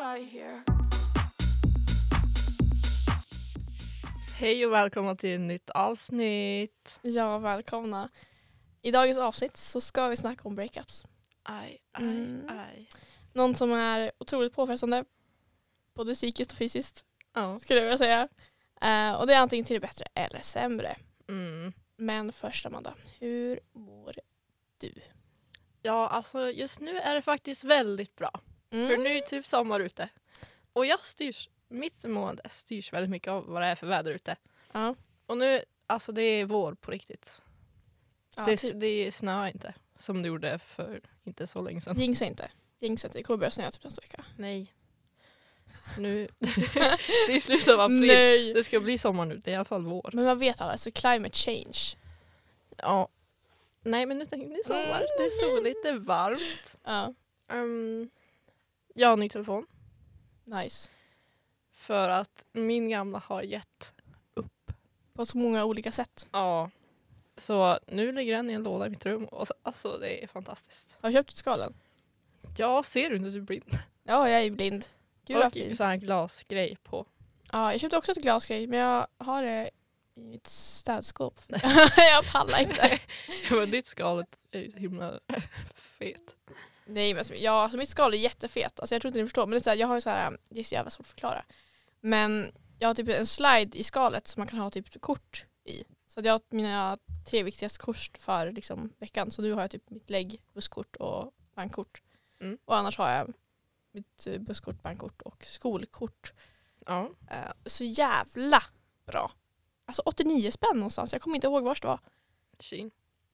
out of here. Hej och välkomna till ett nytt avsnitt. Ja, välkomna. I dagens avsnitt så ska vi snacka om breakups. Aj, aj, Mm. aj. Någon som är otroligt påfrestande, både psykiskt och fysiskt Ja. skulle jag vilja säga. Eh, och det är antingen till det bättre eller sämre. Mm. Men först Amanda, hur mår du? ja, alltså just nu är det faktiskt väldigt bra. För nu är det typ sommar ute. Och jag styrs, mitt mående styrs väldigt mycket av vad det är för väder ute. Ja. Och nu, alltså det är vår på riktigt. Ja, det, typ, det snöar inte som det gjorde för inte så länge sedan. jinxa inte. Jinxa inte, det kommer börja snöa typ nästa vecka. Nej. Nu, det är slutet av april. Nej! Det ska bli sommar nu, det är i alla fall vår. Men vad vet alla, så climate change. Ja. Nej men nu tänker ni sommar. Mm. Det är soligt, det är varmt. Ja, Um, jag har en ny telefon nice. för att min gamla har gett. På så många olika sätt. Ja. Så nu ligger den i en låda i mitt rum och så, alltså det är fantastiskt. Har du köpt ett skalen? Jag ser du inte du är blind? Ja, jag är ju blind. Gud vad och fint. så här glasgrej på. Ja, jag köpte också ett glasgrej men jag har det i mitt städskåp. jag pallar inte. Men ditt skalet är ju så himla fet. Nej men alltså, ja, alltså, mitt skal är jättefet. Alltså, jag tror inte ni förstår men det är så här, jag har ju så här, ähm, det är så jävla svårt att förklara. Men jag har typ en slide i skalet som man kan ha typ kort i. Så att jag har mina tre viktigaste kort för liksom, veckan. Så nu har jag typ mitt lägg, busskort och bankkort. Mm. Och annars har jag mitt eh, busskort, bankkort och skolkort. Ja. Eh, så jävla bra. Alltså 89 spänn någonstans. Jag kommer inte ihåg vars det var. Chin.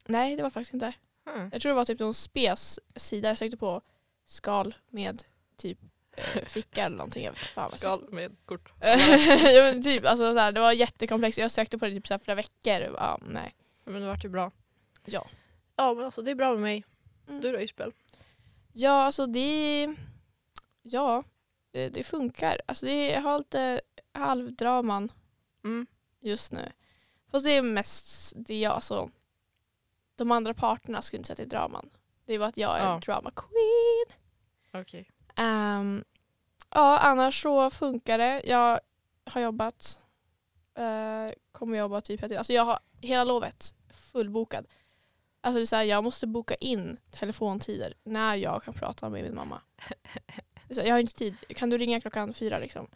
Nej det var faktiskt inte. Hmm. Jag tror det var typ någon spes sida jag sökte på skal med typ eh, ficka eller någonting. Jag vet inte fan vad jag Skal med kort. sökte. ja, men typ, alltså, så här, det var jättekomplext. Jag sökte på det typ så här, flera veckor. Ja, nej. Men det vart ju bra. Ja. Ja men alltså det är bra med mig. Mm. Du då Isabel? ja, alltså det... Ja, det, det funkar. Alltså det jag har lite halvdraman Mm. just nu. Fast det är mest det jag alltså. De andra parterna skulle inte säga att det är draman. Det är bara att jag är Ja. en drama queen. Okej. Ehm, ja, annars så funkar det. Jag har jobbat, eh, kommer jobba typ hela tiden. Alltså jag har hela lovet fullbokad. Alltså det är så här, jag måste boka in telefontider när jag kan prata med min mamma. Det är så här, Jag har inte tid. Kan du ringa klockan fyra liksom?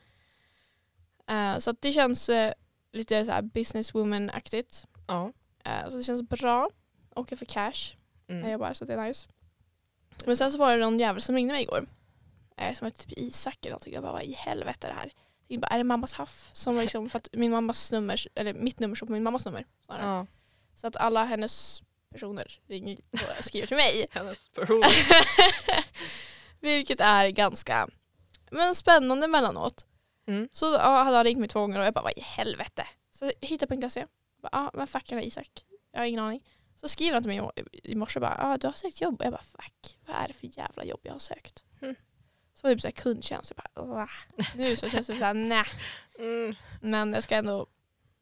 Eh, så att det känns eh, lite så här businesswoman-aktigt. Ja. Eh, så det känns bra. Och jag får cash Eh, jag Mm. jobbar så det är nice. Men sen så var det någon jävel som ringde mig igår. Eh, som var typ Isak eller någonting. Jag bara, vad i helvete är det här? Jag bara, är det mammas haff? Som var liksom, för att min mammas nummer, eller mitt nummer står på min mammas nummer. snarare. ja. Så att alla hennes personer ringer och skriver till mig. Hennes person. Vilket är ganska men spännande emellanåt. Mm. Så ja, hade han ringt mig två gånger och jag bara vad i helvete. Så hitta.se. Ja ah, men fuck den här Isak. Jag har ingen aning. Så skriver han till mig i- i morse bara ah, du har sökt jobb. Och jag bara fuck vad är det för jävla jobb jag har sökt. Mm. Så var det typ såhär kundtjänst. Jag bara, "Ah." nu så känns det såhär nej. Mm. Men jag ska ändå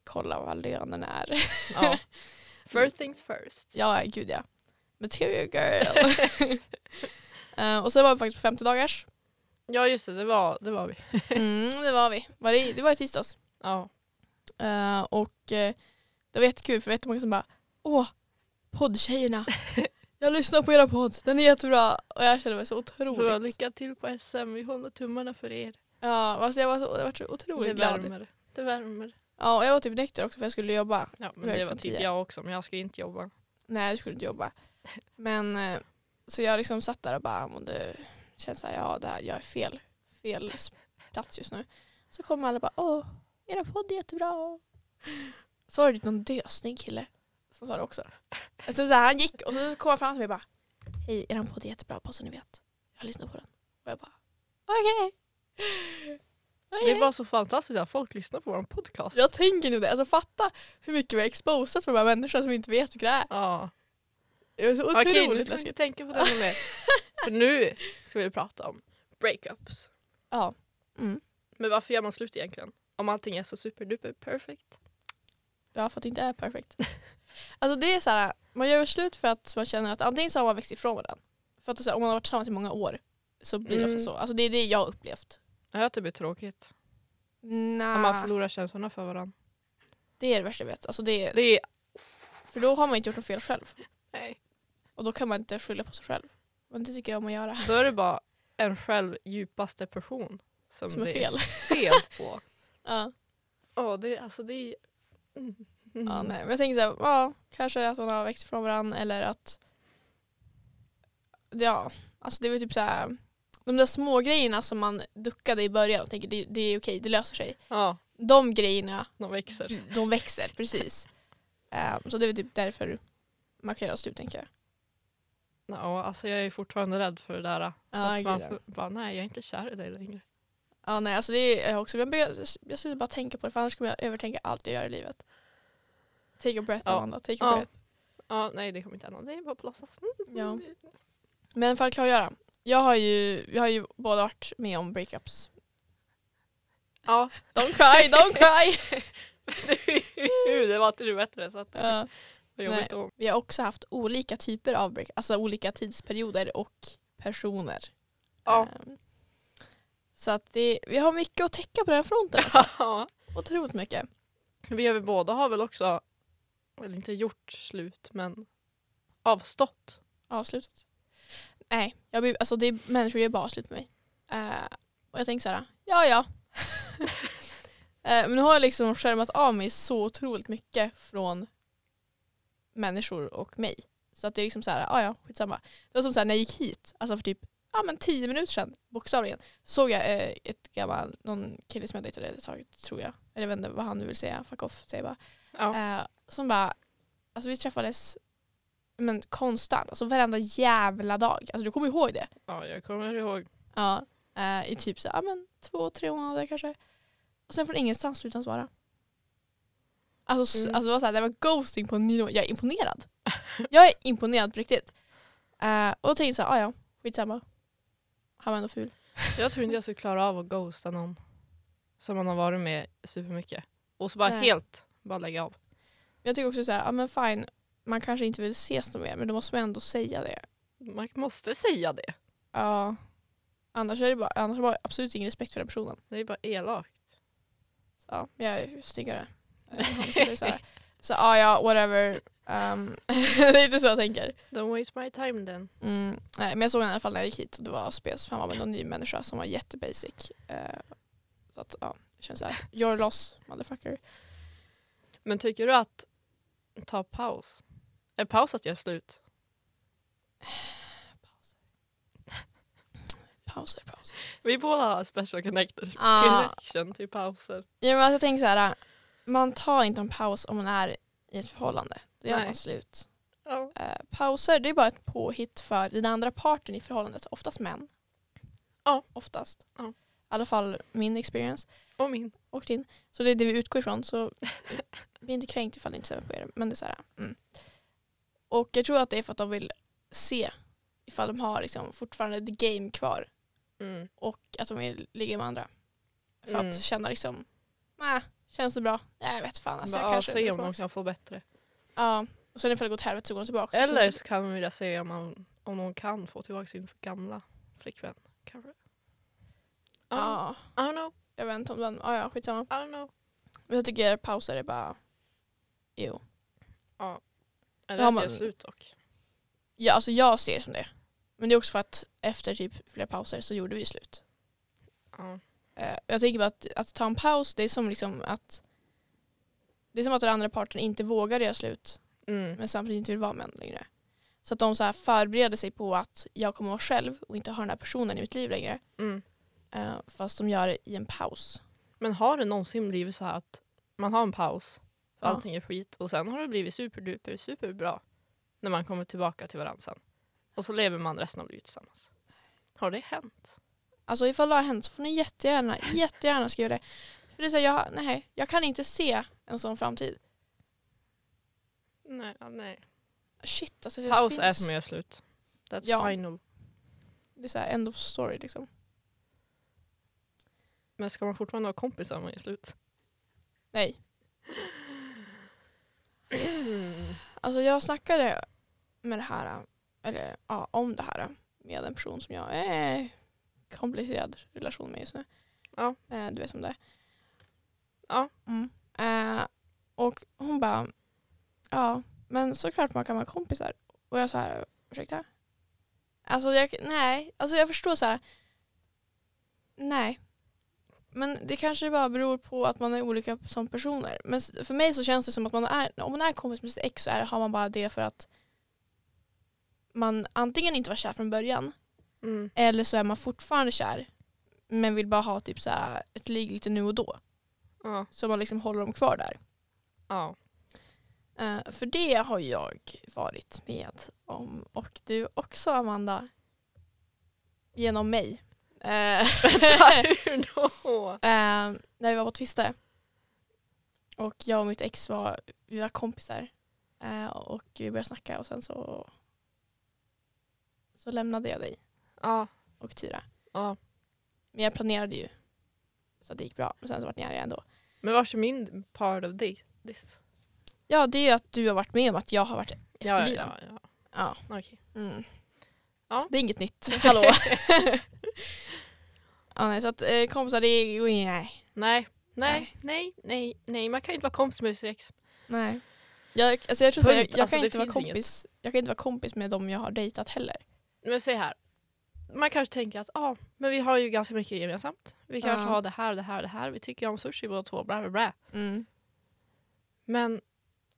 kolla vad lönen är. Ja. First things first. ja gud ja. Material girl. Eh, och sen var vi faktiskt på 50 dagars. Ja just det, det var, det var vi. Mm, det var vi. Var det, det var i tisdags. Ja. Eh, och eh, det var jättekul för det var jättemånga som bara Åh, poddtjejerna! Jag lyssnar på era podd, den är jättebra! Och jag kände mig så otroligt... Så jag lycka till på SM, vi håller tummarna för er. ja, alltså jag var så, jag var så otroligt Det glad. värmer. Det värmer. Ja, och jag var typ nykter också för jag skulle jobba. Ja men Värmer det var från typ tio. jag också men jag ska inte jobba. Nej, jag skulle inte jobba. Men eh, så jag liksom satt där och bara "Men det känns såhär, ja det här, jag är fel, fel plats just nu. Så kom alla och bara Åh, era podd är jättebra! Så var det typ någon dösnygg kille som sa det också. Alltså, Så så här, han gick och så kom han fram till mig och bara Hej, er podd är jättebra, bara så ni vet. Jag lyssnar på den. Och jag bara okej. Det Okej." var så fantastiskt att folk lyssnar på vår podcast. Jag tänker nu det, alltså fatta hur mycket vi har exposat för de här människorna som inte vet vilka det är. Ja. Det är så otroligt Okej nu ska vi läskigt. inte tänka på det mer. För nu ska vi prata om breakups. Ja. Mm. Men varför gör man slut egentligen? Om allting är så superduper perfect. Ja, för att det inte är perfekt. Alltså det är så här, man gör slut för att man känner att antingen så har man växt ifrån varandra. För att så här, om man har varit tillsammans i många år så blir det Mm. ofta så. Alltså det är det jag har upplevt. Jag har typ är tråkigt. När man Nej, förlorar känslorna för varandra. det är det värsta jag vet. Alltså det är, Det är... för då har man inte gjort något fel själv. Nej. Och då kan man inte skylla på sig själv. Men det tycker jag om att göra. Då är det bara en själv djupaste depression som, Som är det fel. fel på. Ja. Ja, det, alltså det är... Mm. Ja, nej. Men jag tänker så här, ja, kanske att man har växt ifrån varandra eller att ja, alltså det var typ så här de där små grejerna som man duckade i början och tänker det, det är okej, det löser sig. Ja, De grejerna, de växer. de växer precis. Ehm, så det är väl typ därför man kan göra slut tänker jag. Ja, alltså jag är fortfarande rädd för det där. Ja, att gud, man ja. får- bara, nej jag är inte kär i dig längre. Ja, nej, alltså det är jag också, men jag, börjar- jag slutar bara tänka på det för annars kommer jag övertänka allt jag gör i livet. Take a breath Ja. Amanda, take a Ja. breath. Ja, nej det kommer inte hända. Det är bara på låtsas. Mm. Ja. Men för att klargöra, jag har ju, vi har ju båda varit med om breakups Ja, Don't cry, don't cry! det var inte du bättre så att det Ja. var jobbigt om. Vi har också haft olika typer av breakups, alltså olika tidsperioder och personer. Ja. Ehm, Så att det, vi har mycket att täcka på den fronten. Alltså. Ja. Otroligt mycket. Vi har väl båda har väl också, eller inte gjort slut men avstått. Avslutet. Nej, jag blir, alltså det är, människor gör bara slut med mig. Eh, och jag tänker så här, ja ja. Eh, men nu har jag liksom skärmat av mig så otroligt mycket från människor och mig. Så att det är liksom så här, ja ja, skitsamma. Det var som så här, när jag gick hit, alltså för typ ja, men tio minuter sedan, bokstavligen, såg jag eh, ett gammal, någon kille som jag dejtade ett tag, tror jag. Eller jag vet inte vad han nu vill säga, fuck off, säger jag bara. Ja. Eh, som bara, alltså vi träffades men konstant, alltså varenda jävla dag. Alltså du kommer ihåg det. ja, jag kommer ihåg. Ja. Eh, I typ så, ja men två, tre månader kanske. Och sen från ingenstans slutade han svara. Alltså, s- Mm. alltså det var så här, det var ghosting på en ny nivå. Jag är imponerad. jag är imponerad på riktigt. Eh, och då tänkte jag så här, ah, ja skitsamma. Han var ändå ful. Jag tror inte jag skulle klara av att ghosta någon som man har varit med supermycket. Och så bara Nej. helt bara lägga av. Men Jag tycker också så här, ja men fine, man kanske inte vill ses något mer men då måste man ändå säga det. Man måste säga det. Ja. Annars är det bara, annars är det bara absolut ingen respekt för den personen. Det är bara elakt. Så, ja, men jag är ju snyggare. än honom, så det är så, här. så ja, ja, whatever. Ehm, det är inte så jag tänker. Don't waste my time then. Mm, nej, men jag såg honom i alla fall när jag gick hit och det var spes. för Han var väl någon ny människa som var jättebasic. Eh, så att ja, det känns såhär, you're loss motherfucker. Men tycker du att ta paus? Är paus att göra slut? Pauser, pauser. Vi båda har special connected, Ah. connection till pauser. Ja, men alltså, jag tänker såhär, man tar inte en paus om man är i ett förhållande. Då gör Nej. man slut. Ja. Eh, pauser det är bara ett påhitt för den andra parten i förhållandet, oftast män. Ja. Oftast. Ja. I alla fall min experience Och min. och din. Så det är det vi utgår ifrån. Så vi är inte kränkt ifall det inte stämmer på er. Men det är så här, mm. Och jag tror att det är för att de vill se ifall de har liksom fortfarande the game kvar. Mm. Och att de vill ligga med andra. För Mm. att känna liksom, nej, känns det bra? Nej, jag vet fan. Alltså, jag Bara, ja, kanske se om de kan få bättre. Ja, och sen ifall det går åt helvete så går de tillbaka. Eller så kan man vilja se om, man, om någon kan få tillbaka sin gamla flickvän. Kanske. Ja. Ja, I don't know. jag vet inte om den, ah, ja ja skitsamma. I don't know. Men jag tycker pauser är bara... Jo. Eller Ja, att men- göra slut dock. Ja, alltså jag ser det som det. Men det är också för att efter typ flera pauser så gjorde vi slut. Ja. Eh, jag tänker bara att, att ta en paus, det är som liksom att det är som att den andra parten inte vågar göra slut Mm. men samtidigt inte vill vara med en längre. Så att de så här förbereder sig på att jag kommer vara själv och inte ha den här personen i mitt liv längre. Mm. Eh, fast de gör det i en paus. Men har det någonsin blivit så här att man har en paus, för Ja. allting är skit och sen har det blivit superduper superbra när man kommer tillbaka till varandra sen. Och så lever man resten av livet tillsammans. Har det hänt? Alltså ifall det har hänt så får ni jättegärna, jättegärna skriva det. För det är så här, jag, nej, jag kan inte se en sån framtid. Nej. nej. Shit alltså det Paus finns. är som jag gör slut. That's Ja. final. Det är så här end of story liksom. Men ska man fortfarande ha kompisar om man gör slut? Nej. Alltså jag snackade med det här, eller ja, om det här med en person som jag är i komplicerad relation med just nu. Ja. Eh, du vet om det är. Ja. Mm. Eh, och hon bara, ja men såklart man kan vara kompisar. Och jag så här, ursäkta? Alltså jag, nej, alltså jag förstår så här. nej. Men det kanske bara beror på att man är olika som personer. Men s- för mig så känns det som att man är, om man är kompis med sitt ex så är, har man bara det för att man antingen inte var kär från början Mm. eller så är man fortfarande kär men vill bara ha typ så här ett ligg lite nu och då. Ja. Så man liksom håller dem kvar där. Ja. Eh, för det har jag varit med om och du också Amanda. Genom mig. Eh, Hur då? Eh, när vi var på Twister. Och jag och mitt ex var, vi var kompisar. Eh, och vi började snacka och sen så, så lämnade jag dig Ja. och Tyra. ja. Men jag planerade ju. Så det gick bra. Men sen så vart ni arga ändå. Men vars är min part of thi- this? Ja det är ju att du har varit med om att jag har varit efterbliven. Ja, ja, Ja. ja. Okej. Mm. Ja. Det är inget nytt. Hallå. ja, nej, så att eh, kompisar det är ju nej. Nej. Nej, Nej. nej, nej, nej, man kan inte vara kompis med sitt ex. Nej. Jag, alltså jag, tror så, här, jag, Punkt. jag, Alltså, kan det inte vara finns inget. kompis, jag kan inte vara kompis med dem jag har dejtat heller. Men säg här, man kanske tänker att ah, men vi har ju ganska mycket gemensamt. Vi kanske Ja. har det här, det här, det här. Vi tycker om sushi båda två, bla bla bla. Mm. Men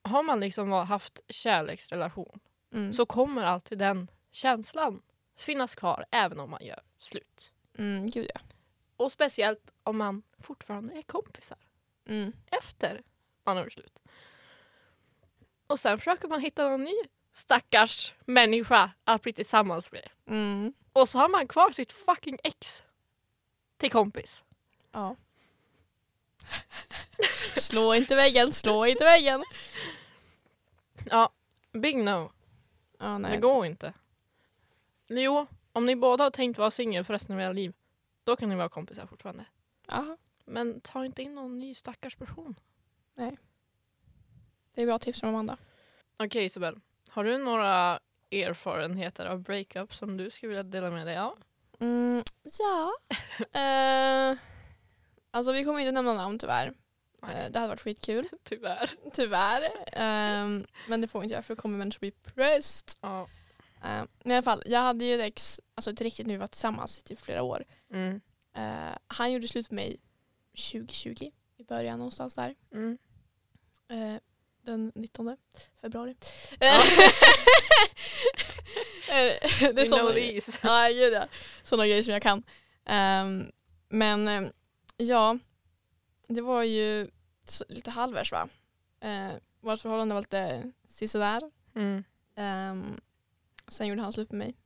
har man liksom haft kärleksrelation Mm. så kommer alltid den känslan finnas kvar även om man gör slut. Mm, gud ja. Och speciellt om man fortfarande är kompisar Mm. efter man har gjort slut. Och sen försöker man hitta någon ny stackars människa att bli tillsammans med. Mm. Och så har man kvar sitt fucking ex till kompis. ja. slå inte väggen, slå inte väggen. Ja, big no. Ja, Det nej. går inte. Eller Jo, om ni båda har tänkt vara singel för resten av era liv, då kan ni vara kompisar fortfarande. Aha, Men ta inte in någon ny stackars person. det är bra tips från Amanda. Okej Isabel, har du några erfarenheter av breakup som du skulle vilja dela med dig av? Mm, ja. eh, alltså vi kommer inte nämna namn tyvärr. Eh, det hade varit skitkul. Tyvärr. Tyvärr. Ehm, men det får vi inte göra för då kommer människor bli pressed. Ja. Eh, men i alla fall, jag hade ju ett ex, alltså ett riktigt nu, vi var tillsammans i typ flera år. Mm. Eh, han gjorde slut med mig 2020, i början någonstans där. Mm. Eh, den 19 februari. Ja. Eh, det är sådana grejer. Louise. Ja, gud ja. Sådana grejer som jag kan. Ehm, men eh, ja, det var ju så, lite halvvägs va? Eh, vårt förhållande var lite sisådär. Mm. Um, sen gjorde han slut med mig.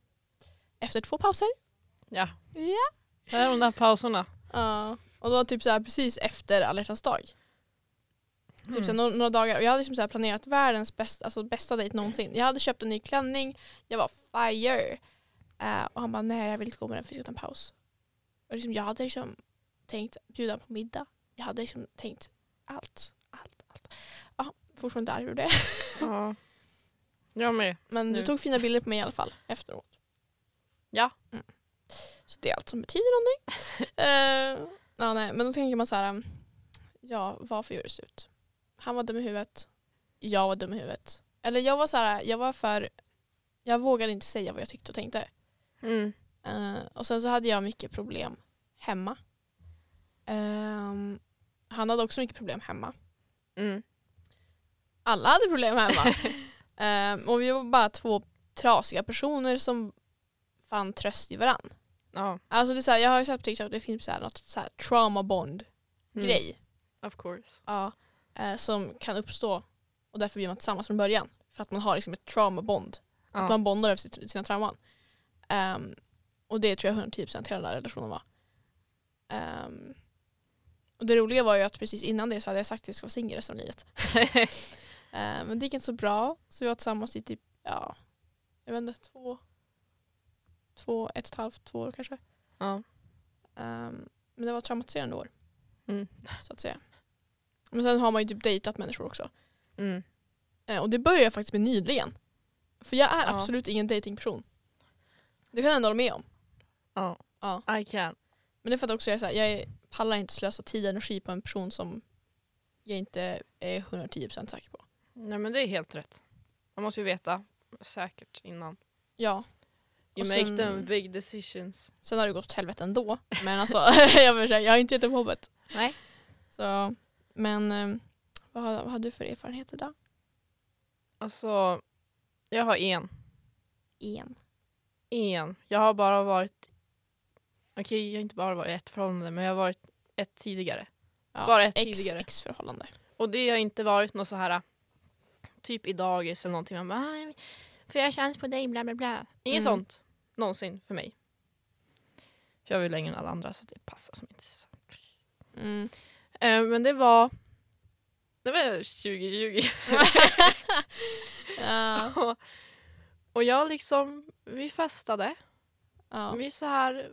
Efter två pauser. Ja. Ja. Det är de där pauserna. Ja. och det var typ så här precis efter alla hjärtans dag. Typ Mm. så här, några, några dagar. Och jag hade liksom så här planerat världens bästa, alltså bästa dejt någonsin. Jag hade köpt en ny klänning, jag var fire. Eh, och han bara nej jag vill inte gå med den för jag ska ta en paus. Och liksom, jag hade liksom tänkt bjuda på middag. Jag hade liksom tänkt allt. Allt, allt. Ja, fortfarande inte arg över det. Ja. Jag med. Men Nu. du tog fina bilder på mig i alla fall efteråt. Ja. Mm. Så det är allt som betyder någonting. Eh, ja, nej, men då tänker man så här, um, ja varför gjorde det slut? Han var dum i huvudet, jag var dum i huvudet. Eller jag var så här, jag var för, jag vågade inte säga vad jag tyckte och tänkte. Mm. Eh, och sen så hade jag mycket problem hemma. Ehm, han hade också mycket problem hemma. Mm. Alla hade problem hemma. Ehm, och vi var bara två trasiga personer som fann tröst i varann. Ja. Alltså det är så här, jag har ju sett på TikTok, det finns så här något så här trauma bond Mm. grej. Of course. Ja, eh, som kan uppstå och därför blir man tillsammans från början. För att man har liksom ett trauma bond. Ja. Att man bondar över sitt- sina trauman. Ehm, och det tror jag 110% hela den här relationen var. Ehm, och det roliga var ju att precis innan det så hade jag sagt att jag ska vara singel resten av livet. Ehm, men det gick inte så bra. Så vi var tillsammans i typ, ja, jag vet inte, två, två, ett och ett halvt, två år kanske. Ja. Ehm, men det var traumatiserande år Mm. så att säga. Men sen har man ju typ dejtat människor också. Mm. Eh, Och det började jag faktiskt med nyligen. För jag är Ja. absolut ingen datingperson. Det kan jag ändå hålla med om. Ja. Ja. I can. Men det är för att också jag, är så här, jag är pallar inte slösa tid och energi på en person som jag inte är 110% säker på. Nej men det är helt rätt. Man måste ju veta säkert innan. Ja, You Och make sen- them big decisions. sen har det gått åt helvete ändå. Men alltså, jag, vill säga, jag har inte gett upp hoppet. Nej. Så, men eh, vad, har- vad har du för erfarenheter då? Alltså, jag har en. En. En. Jag har bara varit... Okej, jag har inte bara varit i ett förhållande, men jag har varit ett tidigare. Ja, Bara ett ex, tidigare. Ex-förhållande. Och det har inte varit något så här typ i dagis eller någonting. Man bara, "Ah, får jag chans på dig, bla bla bla. Inget Mm. sånt någonsin för mig. För jag var ju längre än alla andra så det passar som inte så. Mm. Eh, men det var... Det var 2020. Ja. Och- och jag liksom, vi festade. ja. Mm. Vi så här,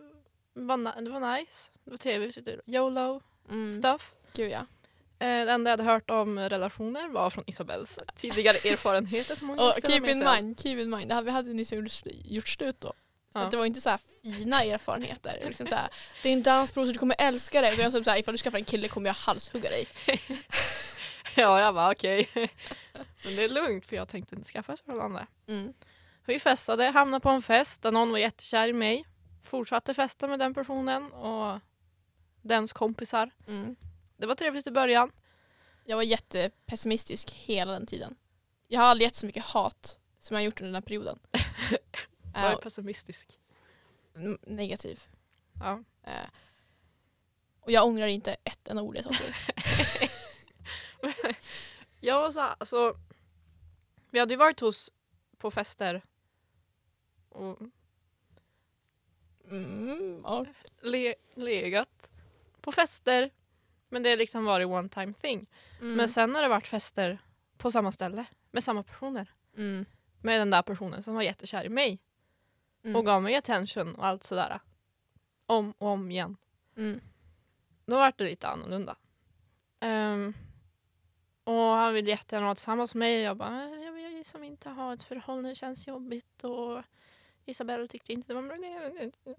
var na- det var nice. Det var trevligt. YOLO Mm. stuff. Gud ja. Eh, Det enda jag hade hört om relationer var från Isabells tidigare erfarenheter. Som hon Och visste keep med in sig. mind, keep in mind, det här, vi hade nyss gjort, sl- gjort slut då. Så Ja. att det var inte så här fina erfarenheter. Liksom så här, det är en dansprov så du kommer älska det. Så jag sa typ så här, ifall du skaffar en kille kommer jag halshugga dig. Ja, jag bara okej. Men det är lugnt för jag tänkte inte skaffa ett förhållande. Mm. Vi festade, hamnade på en fest där någon var jättekär i mig. Fortsatte festa med den personen och dens kompisar. Mm. Det var trevligt i början. Jag var jättepessimistisk hela den tiden. Jag har aldrig gett så mycket hat som jag har gjort under den här perioden. Jag var Eh, ju pessimistisk. n- negativ. Ja. Eh, och jag ångrar inte ett enda ord jag sa till dig. Jag var så här, alltså, vi hade ju varit hos på fester och Mm, och, le, legat på fester. Men det har liksom varit one time thing. mm, Men sen har det varit fester på samma ställe med samma personer. mm, Med den där personen som var jättekär i mig mm, och gav mig attention och allt sådär. Om och om igen. mm, Då var det lite annorlunda. Ehm, och han ville jättegärna vara tillsammans med mig. Jag bara, "Eh, jag vill som inte ha ett förhållande, det känns jobbigt. Och Isabella tyckte inte det var bra.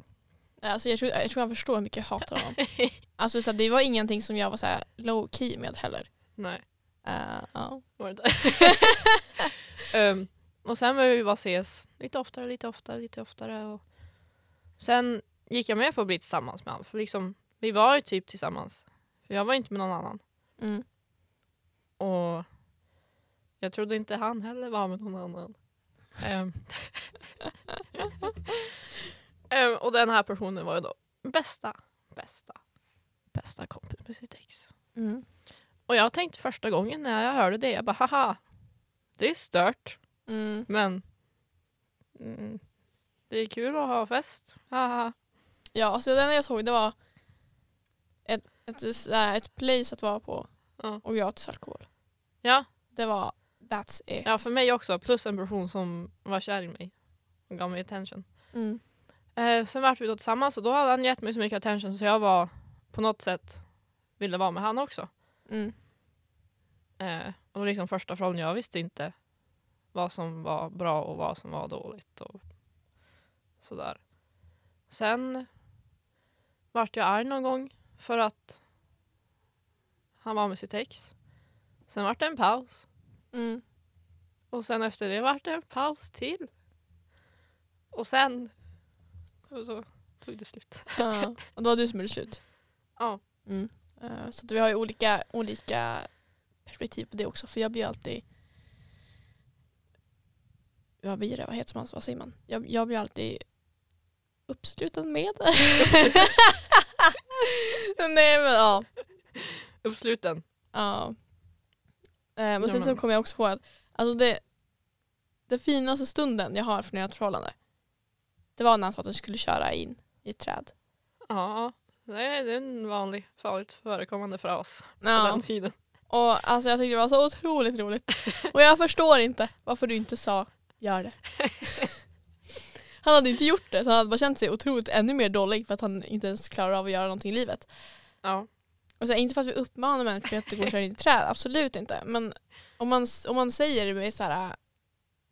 Alltså jag, tror, jag tror han förstår hur mycket jag hatar honom. Alltså så här, det var ingenting som jag var så här low key med heller. Nej, Eh, ja. var det inte. Ehm, och sen började vi bara ses lite oftare, lite oftare, lite oftare. Och sen gick jag med på att bli tillsammans med honom. För liksom, vi var ju typ tillsammans. För jag var inte med någon annan. mm. Och jag trodde inte han heller var med någon annan. Ehm. Ehm, och den här personen var ju då bästa, bästa, bästa kompis med sitt ex. Mm. Och jag tänkte första gången när jag hörde det, jag bara haha, det är stört, Mm. men mm, det är kul att ha fest. Haha. Ja, så det enda jag såg det var ett, ett, så här, ett place att vara på Ja. och gratis alkohol. Ja, Det var that's it. ja, för mig också, plus en person som var kär i mig och gav mig attention. Mm. Eh, sen vart vi då tillsammans och då hade han gett mig så mycket attention så jag var på något sätt ville vara med han också. Mm. Eh, och det var liksom första frågan jag visste inte vad som var bra och vad som var dåligt och sådär. Sen vart jag arg någon gång för att han var med sitt ex. Sen vart det en paus Mm. och sen efter det vart det en paus till. Och sen och så tog det slut. Ja. Och då var du som gjorde slut. Ja. Mm. Eh, Så att vi har ju olika, olika perspektiv på det också. För jag blir alltid... Ja, vi är det, vad heter man? Vad säger man? Jag, jag blir alltid uppslutad med. Nej men ja. Uppsluten. ja. Eh, Men Ja, sen så men- kom jag också på att alltså det, den finaste stunden jag har från ert förhållande det var när han sa att han skulle köra in i ett träd. Ja, det är det är en vanlig, vanligt förekommande fras på Ja. den tiden. Och alltså jag tyckte det var så otroligt roligt. Och jag förstår inte varför du inte sa gör det. Han hade inte gjort det så han hade bara känt sig otroligt ännu mer dålig för att han inte ens klarar av att göra någonting i livet. Ja. Och så här, inte för att vi uppmanar människor att gå och köra in i träd, absolut inte. Men om man, om man säger med så här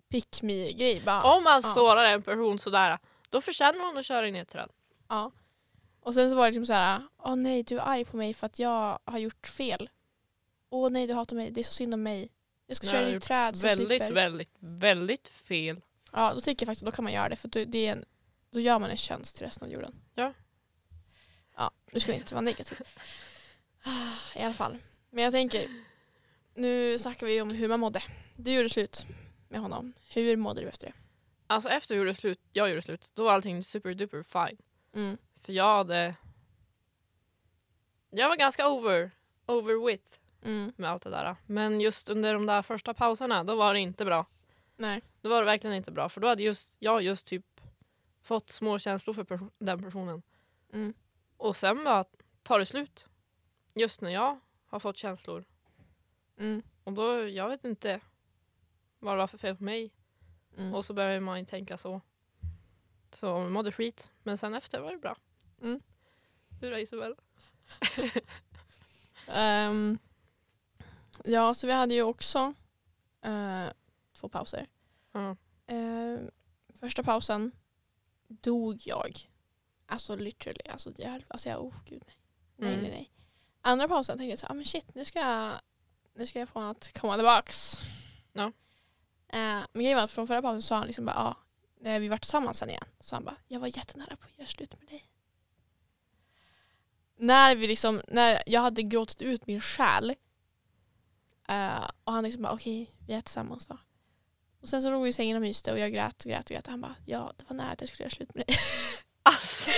pick me-grej bara. Om man Ja. sårar en person sådär, då förtjänar hon att köra in i ett träd. Ja. Och sen så var det liksom så här, åh nej du är arg på mig för att jag har gjort fel. Åh nej du hatar mig, det är så synd om mig. Jag ska Nej, köra jag har i ditt gjort träd så jag väldigt, slipper. väldigt, väldigt fel. Ja, då tycker jag faktiskt att då kan man göra det för då, det är en, då gör man en tjänst till resten av jorden. Ja. Ja, nu ska vi inte vara negativ. Ah, I alla fall. Men jag tänker, nu snackar vi om hur man mådde. Du gjorde slut med honom. Hur mådde du efter Alltså efter vi gjorde slut, jag gjorde slut, då var allting superduper fine. det? Mm. För jag hade... Jag var ganska over, over with Mm. med allt det där. Men just under de där första pauserna, då var det inte bra. Nej. Då var det verkligen inte bra. För då hade just, jag just typ fått små känslor för perso- den personen. Mm. Och sen bara tar det slut. Just när jag har fått känslor. Mm. Och då, jag vet inte vad det var för fel på mig. Mm. Och så börjar man ju tänka så. Så jag mådde skit. Men sen efter var det bra. Mm. Du då Isabel? Ehm, ja, så vi hade ju också eh, två pauser. Ja. Eh, första pausen dog jag. Alltså literally. Alltså jag, alltså jag oh gud nej. Nej, Mm. nej, nej. Andra pausen tänkte jag så här, ah, men shit nu ska jag, nu ska jag få honom att komma tillbaks. Ja. Eh, men grejen var att från förra pausen sa han liksom bara, ja, när vi var tillsammans sen igen. Så han bara, jag var jättenära på att göra slut med dig. När vi liksom, när jag hade gråtit ut min själ eh, och han liksom bara, okej vi är tillsammans då. Och sen så låg vi i sängen och myste och jag grät och grät och grät. Och han bara, ja det var nära att jag skulle göra slut med dig. Alltså!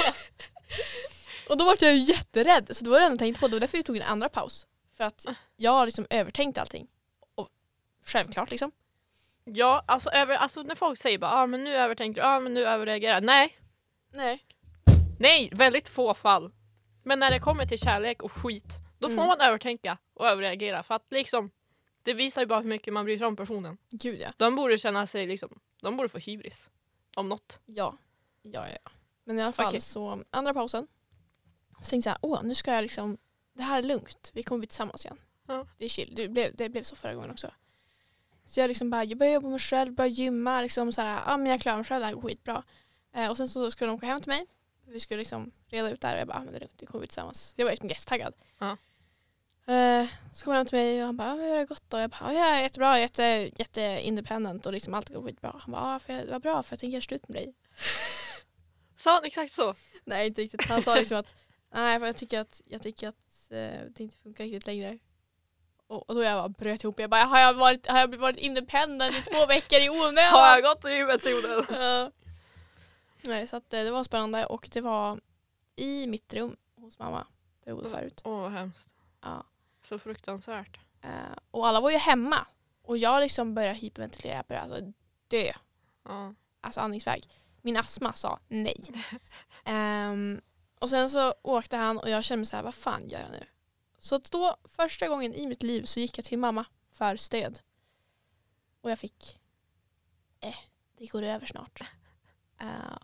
Och då var jag ju jätterädd. Så det var det enda jag tänkte på. Det var därför vi tog en andra paus. För att jag har liksom övertänkt allting. Och självklart liksom. Ja, alltså, över, alltså när folk säger bara ah, men nu övertänker du, ah, men nu överreagerar Nej, Nej. nej, väldigt få fall. Men när det kommer till kärlek och skit, då får Mm. man övertänka och överreagera. För att liksom, det visar ju bara hur mycket man bryr sig om personen. Gud ja. De borde känna sig liksom, de borde få hybris. Om något. Ja. Ja, ja, ja. Men i alla fall Okej. så andra pausen. Så tänkte jag så här, åh nu ska jag liksom, det här är lugnt. Vi kommer bli tillsammans igen. Ja. Det är chill. Det blev, det blev så förra gången också. Så jag liksom bara, jag började jobba med mig själv, började gymma. Liksom så här, ja men jag klarar mig själv, det här går skitbra. Eh, och sen så skulle de åka hem till mig. Vi skulle liksom reda ut det här och jag bara, ah, men det är lugnt, vi kommer bli tillsammans. Jag var liksom jättetaggad. Ja. Eh, så kom han hem till mig och han bara, ah, men hur har det gått då? Jag bara, ah, jag är jättebra, jätte, jätte independent och liksom allt går skitbra. Han bara, ah, för jag, det var bra för jag tänker göra slut med dig. Sa han exakt så? Nej inte riktigt. Han sa liksom att nej för jag tycker att, jag tycker att eh, det inte funkar riktigt längre. Och, och då jag bara bröt ihop. Jag bara har jag varit, har jag varit independent i två veckor i Har onödan? jag gått i huvudet Jonas? Ja. Nej så att eh, det var spännande och det var i mitt rum hos mamma. Där jag bodde förut. Åh vad hemskt. Ja. Så fruktansvärt. Eh, och alla var ju hemma. Och jag liksom började hyperventilera. Jag började alltså dö. Ja. alltså andningsväg. Min astma sa nej. Ehm, och sen så åkte han och jag kände mig så här, vad fan gör jag nu? Så att då, första gången i mitt liv så gick jag till mamma för stöd. Och jag fick, eh, det går över snart. Ehm,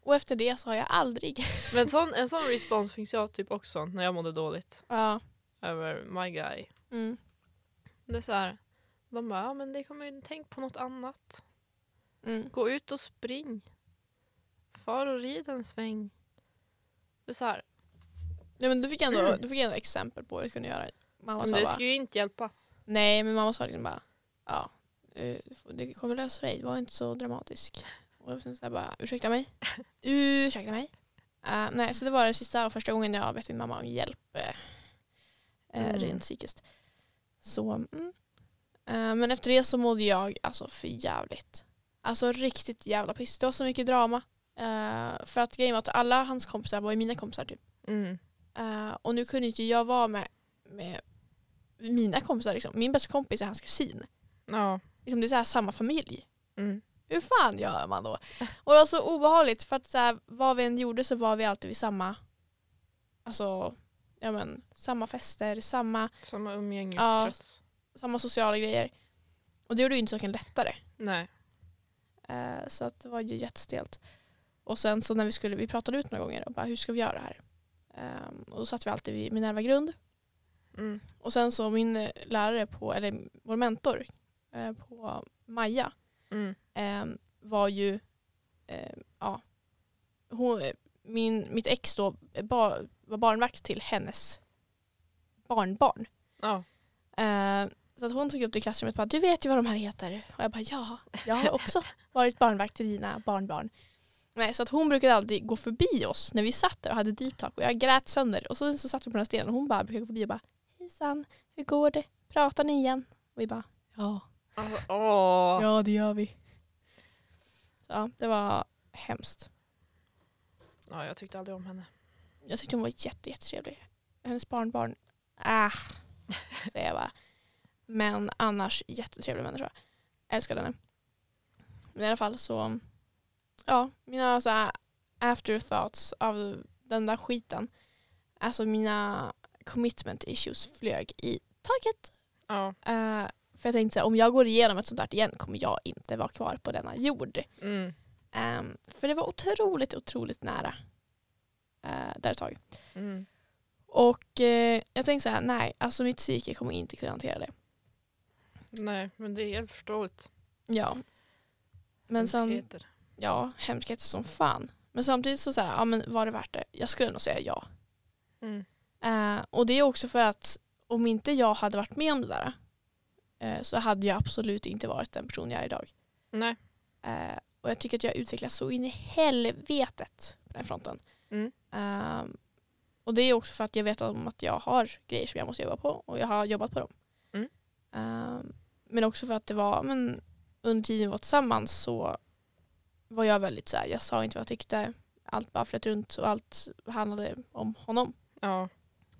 och efter det så har jag aldrig, Men sån, en sån respons finns jag typ också när jag mådde dåligt ja, över my guy. mm, Det är så här, de bara, ja men det kommer ju, tänk på något annat. mm, Gå ut och spring. Far och rid en sväng. Det är så här, nej men du fick ändå, du fick ändå exempel på hur jag kunde göra. Mamma Mm. men sa det bara, skulle ju inte hjälpa. Nej, men mamma sa liksom bara, ja, eh, det kommer lösa dig, var inte så dramatisk. Och sen så här bara, ursäkta mig, ursäkta mig. Eh, nej, så det var den sista och första gången jag bett min mamma om hjälp, eh, eh, Mm. rent psykiskt. Så, mm. Eh, men efter det så mådde jag alltså för jävligt. Alltså riktigt jävla piss. Det var så mycket drama. Eh, för att grejen var att alla hans kompisar var ju mina kompisar typ. Mm. Eh, och nu kunde inte jag vara med, med mina kompisar. Liksom. Min bästa kompis är hans kusin. Ja. Liksom, det är så här samma familj. Mm. Hur fan gör man då? Och det var så obehagligt för att så här, vad vi än gjorde så var vi alltid vid samma alltså, ja, men, samma fester, samma, Samma umgängeskrets. samma sociala grejer. Och det gjorde ju inte saken lättare. Nej. Eh, så att det var ju jättestelt. Och sen så när vi skulle, vi pratade ut några gånger och bara hur ska vi göra det här? Ehm, och då satt vi alltid vid Minerva grund Mm. Och sen så min eh, lärare på, eller vår mentor eh, på Maja Mm. eh, var ju, eh, ja, hon, eh, min, mitt ex då eh, ba, var barnvakt till hennes barnbarn. Ja. Eh, så att hon tog upp det i klassrummet och bara, du vet ju vad de här heter. Och jag bara, ja, jag har också varit barnvakt till dina barnbarn. Nej, så att hon brukade alltid gå förbi oss när vi satt där och hade deep talk och jag grät sönder. Och så, så satt vi på den här stenen och hon bara brukade gå förbi och bara, hejsan, hur går det? Pratar ni igen? Och vi bara, ja. Alltså, åh. Ja, det gör vi. Så, ja, det var hemskt. Ja, jag tyckte aldrig om henne. Jag tyckte hon var jätte, jättetrevlig. Hennes barnbarn, ah, säger jag bara. Men annars jättetrevlig människa. Älskar henne. Men i alla fall så, ja, mina så här afterthoughts av den där skiten. Alltså mina commitment issues flög i taket. Ja. Eh, för jag tänkte så här, om jag går igenom ett sånt där igen kommer jag inte vara kvar på denna jord. Mm. Ehm, för det var otroligt, otroligt nära. eh, där ett tag. Mm. Och eh, jag tänkte så här, nej, alltså mitt psyke kommer inte kunna hantera det. Nej, men det är helt förståeligt. Ja. Men sen, Hemskheter. ja, hemskheter som fan. Men samtidigt så, så här, ja men var det värt det? Jag skulle nog säga ja. Mm. Eh, och det är också för att om inte jag hade varit med om det där eh, så hade jag absolut inte varit den person jag är idag. Nej. Eh, och jag tycker att jag utvecklas så in i helvetet på den fronten. Mm. Ehm, och det är också för att jag vet om att jag har grejer som jag måste jobba på och jag har jobbat på dem. Mm. Ehm, men också för att det var, men under tiden vi var tillsammans så var jag väldigt så här, jag sa inte vad jag tyckte. Allt bara flöt runt och allt handlade om honom. Ja.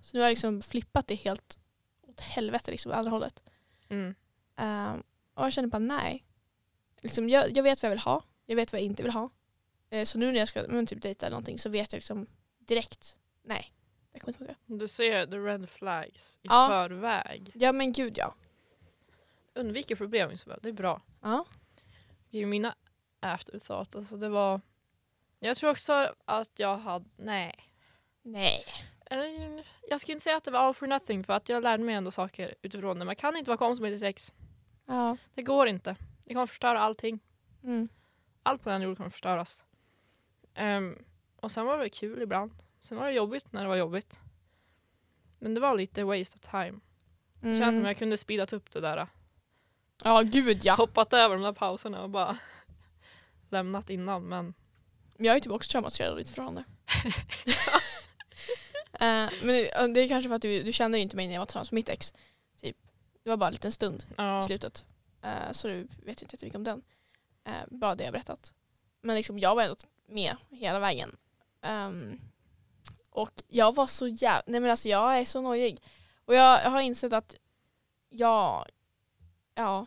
Så nu har jag liksom flippat det helt åt helvete, liksom, åt andra hållet. Mm. Ehm, och jag kände bara nej. Liksom, jag, jag vet vad jag vill ha, jag vet vad jag inte vill ha. Eh, så nu när jag ska men, typ dejta eller någonting så vet jag liksom direkt, nej. Det kommer inte funka. Du ser the red flags i Ja. förväg. Ja men gud ja. Undviker problem Isabel, det är bra. Ja. Okej, mina afterthought, alltså det var... Jag tror också att jag hade... Nej. Nej. Eller, Jag skulle inte säga att det var all for nothing för att jag lärde mig ändå saker utifrån det. Man kan inte vara kompis med ett sex. Ja. Det går inte. Det kommer förstöra allting. Mm. Allt på den jorden kommer förstöras. Ehm, och sen var det kul ibland. Sen var det jobbigt när det var jobbigt. Men det var lite waste of time. Det känns som jag kunde speedat upp det där. Mm. Ja gud ja. Hoppat över de där pauserna och bara lämnat innan. Men Men jag är typ också traumatiserad av ditt förhållande. Eh, men det, det är kanske för att du, du kände ju inte mig när jag var tillsammans med mitt ex. Typ. Det var bara en liten stund. i ja. slutet. Eh, så du vet inte jättemycket om den. Eh, bara det jag berättat. Men liksom, jag var ändå med hela vägen. Ehm, och jag var så jävla... Nej men alltså jag är så nojig. Och jag, jag har insett att jag... Ja.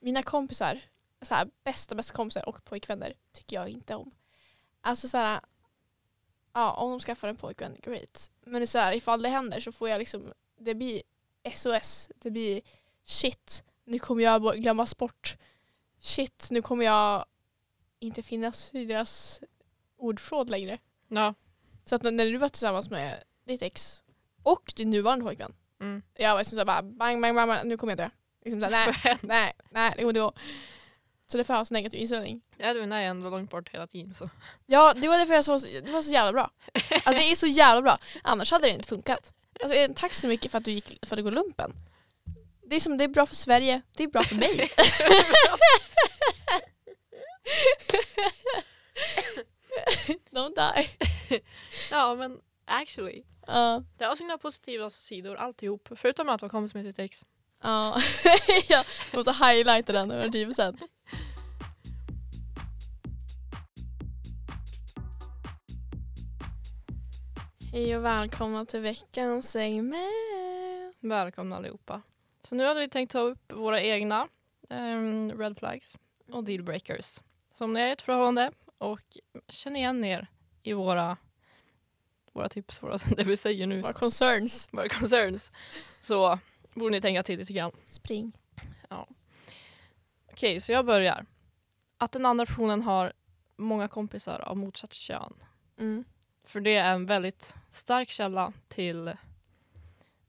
Mina kompisar, så här, bästa bästa kompisar och pojkvänner tycker jag inte om. Alltså så här, ja om de skaffar en pojkvän, great. Men det är så här, ifall det händer så får jag liksom, det blir SOS, det blir shit, nu kommer jag bo- glömmas bort. Shit, nu kommer jag inte finnas i deras ordfråd längre. ja. Så att när- när du var tillsammans med ditt ex och din nuvarande pojkvän, Mm. jag var liksom så här bara bang, bang, bang, bang, nu kommer jag dö. Liksom så här, nej, nej, nej, det kommer inte gå. Så därför har jag så negativ inställning. Ja, du är nej, ändå långt bort hela tiden. Så. Ja, det var därför jag sa, det var så jävla bra. Alltså, det är så jävla bra. Annars hade det inte funkat. Alltså, eh, tack så mycket för att du gick för att gå lumpen. Det är, som, det är bra för Sverige, det är bra för mig. Don't die. Ja, men actually. Ja, Det har sina positiva sidor alltihop, förutom att vara kompis med ditt ex. ja. jag måste highlighta den över 10%. Hej och välkomna till veckans segment. Välkomna allihopa. Så nu hade vi tänkt ta upp våra egna ehm, red flags och dealbreakers. Så om ni är i ett förhållande och känner igen er i våra, våra tips, våra, det vi säger nu, Våra concerns. våra concerns, så borde ni tänka till lite grann. Spring. Okej, så jag börjar. Att den andra personen har många kompisar av motsatt kön. Mm. För det är en väldigt stark källa till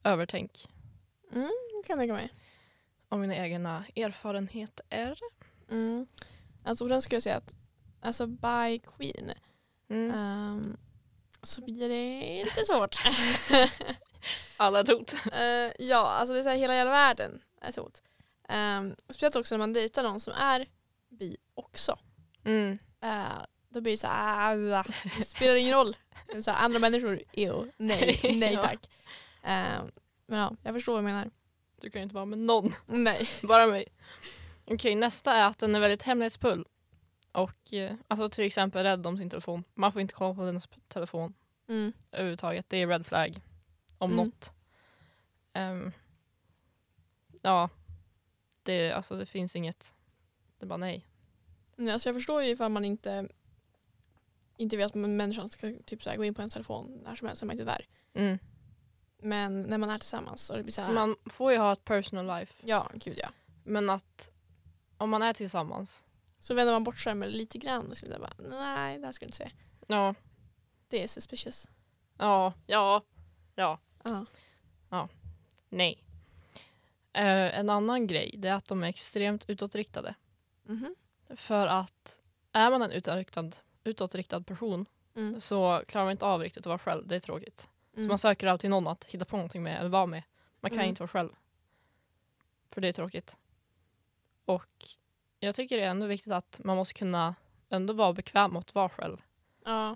övertänk. Mm, kan jag tänka mig. av mina egna erfarenheter. Mm. Alltså på den skulle jag säga att alltså by queen Mm. Ehm, så blir det lite svårt. Alla är ett hot. Eh, ja, alltså det är så här, hela jävla världen är ett hot. Ehm, speciellt också när man dejtar någon som är bi också. Mm. Eh, då blir det så här, "Ah, det spelar ingen roll. Det är Så här, andra människor, ew, nej, nej Ja. tack. Eh, men ja, jag förstår vad du menar. Du kan ju inte vara med någon, Nej. bara mig. Okej, nästa är att den är väldigt hemlighetsfull. Och eh, alltså till exempel rädd om sin telefon. Man får inte kolla på dennes telefon Mm. överhuvudtaget. Det är red flag. Om Mm. något. Ehm, ja, det, alltså, det finns inget. Det är bara nej. Nej, Alltså jag förstår ju ifall man inte inte vet att människan ska typ så här, gå in på ens telefon när som helst när man inte är där. Men när man är tillsammans och det blir så här, Så man får ju ha ett personal life. ja gud ja. Men att om man är tillsammans. Så vänder man bort skärmen lite grann och så blir det bara, nej det här ska du inte se. Ja, Det är suspicious. ja, ja, ja, Ja. nej. Eh, en annan grej det är att de är extremt utåtriktade. Mhm. För att är man en utåtriktad, utåtriktad person Mm. så klarar man inte av riktigt att vara själv. Det är tråkigt. Så Mm. man söker alltid någon att hitta på någonting med eller vara med. Man kan Mm. inte vara själv. För det är tråkigt. Och jag tycker det är ändå viktigt att man måste kunna ändå vara bekväm med att vara själv. Ja.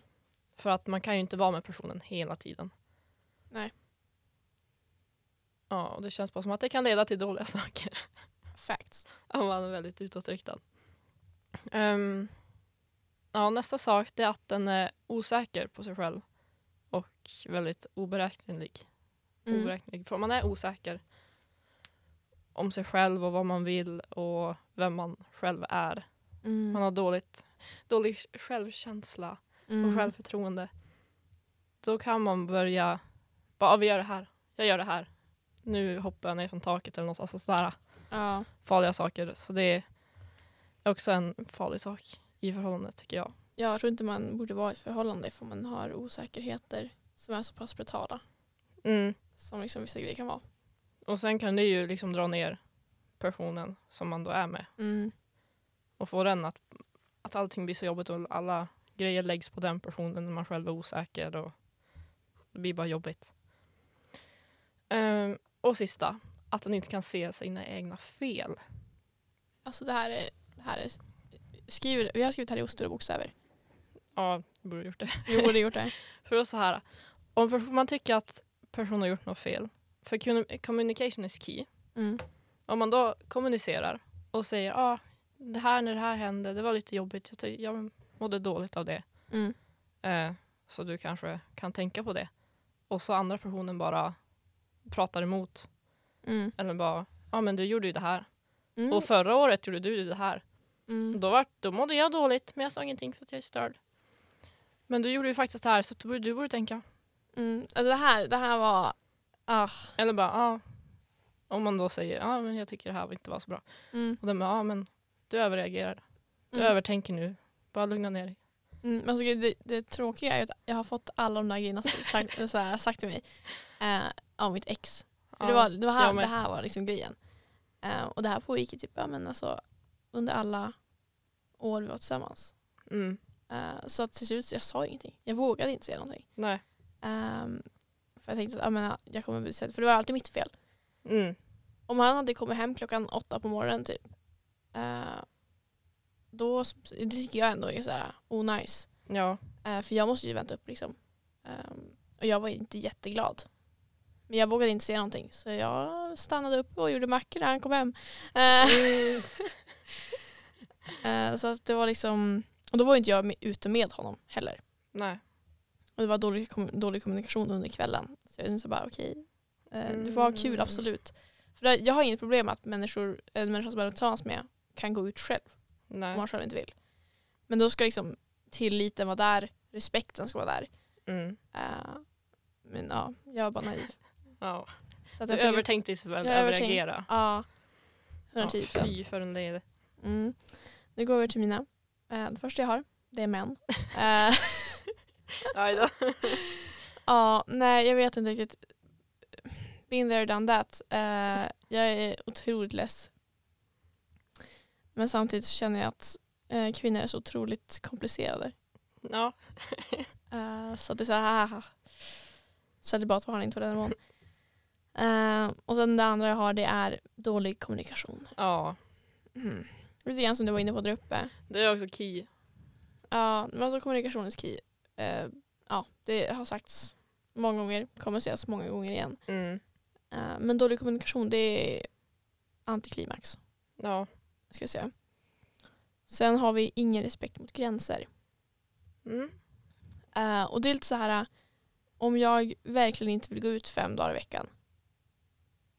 För att man kan ju inte vara med personen hela tiden. Nej. Ja, och det känns bara som att det kan leda till dåliga saker Facts. om man är väldigt utåtriktad. Ehm, ja, nästa sak det är att den är osäker på sig själv och väldigt oberäknelig Mm. oräknelig. För man är osäker om sig själv och vad man vill och vem man själv är. Man Mm. har dåligt, dålig självkänsla och Mm. självförtroende. Då kan man börja, bara "Ah, vi gör det här, jag gör det här. Nu hoppar jag ner från taket eller något, alltså sådana Ja. farliga saker. Så det är också en farlig sak i förhållandet tycker jag. Jag tror inte man borde vara i ett förhållande för man har osäkerheter som är så pass brutala som liksom vissa grejer kan vara. Och sen kan det ju liksom dra ner personen som man då är med. Mm. och få den att, att allting blir så jobbigt och alla grejer läggs på den personen när man själv är osäker och det blir bara jobbigt. Ehm, och sista, att den inte kan se sina egna fel. Alltså det här är, det här är skriver, vi har skrivit här i stora bokstäver. Ja, jag borde ha gjort det. Vi borde gjort det. För då så här, om pers- man tycker att personen har gjort något fel, för commu- communication is key. Mm. Om man då kommunicerar och säger ah, det här när det här hände, det var lite jobbigt, jag, ty- jag mådde dåligt av det. Mm. Eh, så du kanske kan tänka på det. Och så andra personen bara pratar emot. Mm. Eller bara, ja men du gjorde ju det här. Mm. Och förra året gjorde du det här. Mm. Då, var, då mådde jag dåligt men jag sa ingenting för att jag är störd. Men du gjorde ju faktiskt det här så du borde, du borde tänka. Mm. Alltså det, här, det här var... Ah. Eller bara, ja. om man då säger, ja men jag tycker det här inte var så bra. Mm. Och de bara, ja men du överreagerar. Du Mm. övertänker nu. Bara lugna ner dig. Mm. Men alltså, det, det tråkiga är ju att jag har fått alla de där grejerna sagt, så här, sagt till mig eh, av mitt ex. För det, Ja. var, det, var här, jag med. det här var liksom grejen. Eh, och det här pågick ju typ, ja, men alltså, under alla år vi var tillsammans. Mm. Eh, så att till slut så jag sa ingenting. Jag vågade inte säga någonting. Nej. Ehm, för jag tänkte att ja, men, jag kommer bli sedd. För det var alltid mitt fel. Mm. Om han hade kommit hem klockan åtta på morgonen typ. eh, då det tycker jag ändå är så här oh, onajs. Ja. Eh, för jag måste ju vänta upp liksom. Ehm, och jag var inte jätteglad. Men jag vågade inte säga någonting. Så jag stannade upp och gjorde mackor när han kom hem. Eh, eh, så att det var liksom. Och då var ju inte jag med, ute med honom heller. Nej. Och det var dålig, kom, dålig kommunikation under kvällen. Så jag så bara okej, eh, du får ha kul Mm. absolut. För det, jag har inget problem att människor, en människa som jag är tillsammans med kan gå ut själv om Nej. man själv inte vill. Men då ska liksom tilliten vara där, respekten ska vara där. Mm. Eh, men ja, jag är bara naiv. Ja. Så att Du jag tycker- övertänkte istället Jag övertänk- överreagera. Ja, Ja, 110 fy för typ, alltså. en del. Mm. Nu går vi över till mina. Eh, det första jag har, det är män. Eh, Aj då. Ja, nej jag vet inte riktigt. Been there, done that. Eh, jag är otroligt less. Men samtidigt så känner jag att eh, kvinnor är så otroligt komplicerade. Ja. Eh, så att det är så här, celibat var han inte på den nivån. Eh, och sen det andra jag har det är dålig kommunikation. ja. Mm. Lite grann som du var inne på där uppe. Det är också key. Ja, men alltså kommunikation är key. Eh, ja, det har sagts många gånger, kommer sägas många gånger igen. Mm. Eh, men dålig kommunikation det är antiklimax. Ja. Ska jag säga. Sen har vi ingen respekt mot gränser. Mm. Eh, och det är lite så här, eh, om jag verkligen inte vill gå ut fem dagar i veckan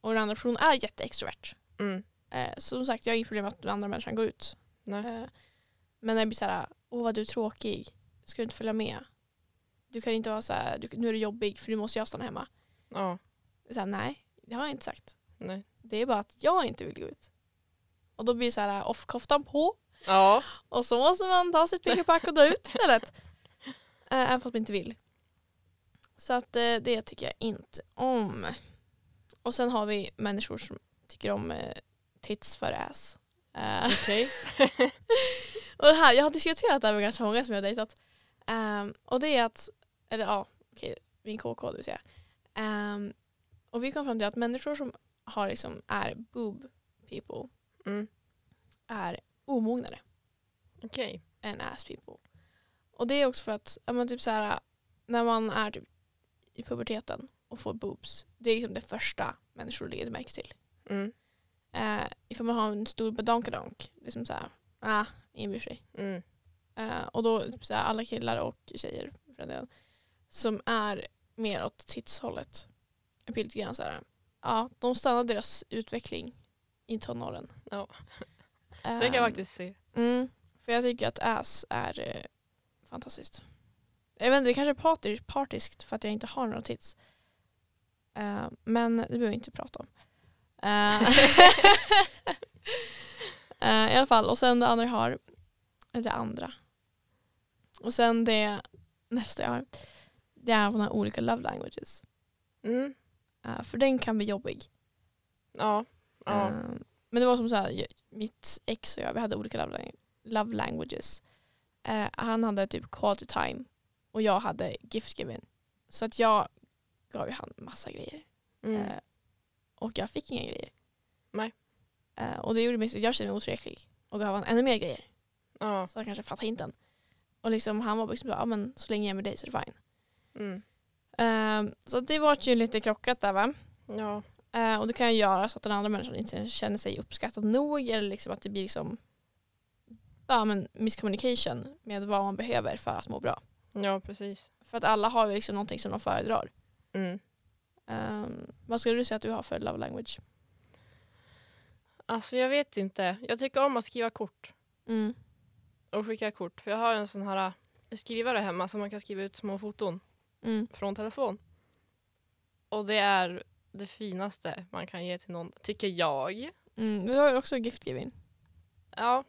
och den andra personen är jätteextrovert. Mm. Eh, så som sagt, jag har inget problem med att den andra människan går ut. Nej. Eh, men när det blir så här, eh, åh vad du är tråkig, ska du inte följa med? Du kan inte vara så här, du, nu är du jobbig för nu måste jag stanna hemma. Ja. Så här, Nej, det har jag inte sagt. Nej. Det är bara att jag inte vill gå ut. Och då blir det så här, off-koftan på Ja. och så måste man ta sitt pick och pack och dra ut istället. Eh, Även fast man inte vill. Så att eh, det tycker jag inte om. Och sen har vi människor som tycker om eh, tits för ass. Eh, Okej. och det här, jag har diskuterat det här med ganska många som jag har dejtat. Ehm, och det är att, eller ja, okej, min KK det vill säga. Ehm, och vi kom fram till att människor som har liksom, är boob people Mm. är omognare Okej. än ass people. Och det är också för att ja, men typ så här, när man är typ i puberteten och får boobs, det är liksom det första människor lägger märke till. Mm. Eh, ifall man har en stor badonkadonk, liksom så här, ah, ingen bryr sig. Mm. Eh, och då typ så här, alla killar och tjejer för den delen, som är mer åt tidshållet. Jag blir lite grann så här, ja, de stannar deras utveckling i tonåren. Eh, Ja. Det kan jag faktiskt se. Mm, för jag tycker att ass är eh, fantastiskt. Jag vet inte, det kanske är parti- partiskt för att jag inte har några tits. Eh, men det behöver vi inte prata om. Eh, eh, I alla fall, och sen det andra jag har, det andra. Och sen det nästa jag har, det är våra olika love languages. Mm. Eh, för den kan bli jobbig. Ja. Ja. Eh, Men det var som så här, jag- mitt ex och jag, vi hade olika love, lang- love languages. Eh, han hade typ quality time och jag hade gift giving. Så att jag gav ju han massa grejer. Mm. Eh, och jag fick inga grejer. Nej. Eh, och det gjorde mig, så- jag kände mig otillräcklig och gav han ännu mer grejer. Ja. Så han kanske fattade hinten. Och liksom, han var liksom så, ja men så länge jag är med dig så är det fine. Mm. Eh, så det var ju lite krockat där va. Ja. Eh, och det kan ju göra så att den andra människan inte känner sig uppskattad nog eller liksom att det blir liksom, ja, men miscommunication med vad man behöver för att må bra. Ja, precis. För att alla har ju liksom någonting som de föredrar. Mm. Eh, vad skulle du säga att du har för love language? Alltså jag vet inte. Jag tycker om att skriva kort Mm. och skicka kort. För jag har en sån här äh, skrivare hemma som man kan skriva ut små foton Mm. från telefon. Och det är det finaste man kan ge till någon, tycker jag. Mm. Du har ju också gift giving. Ja.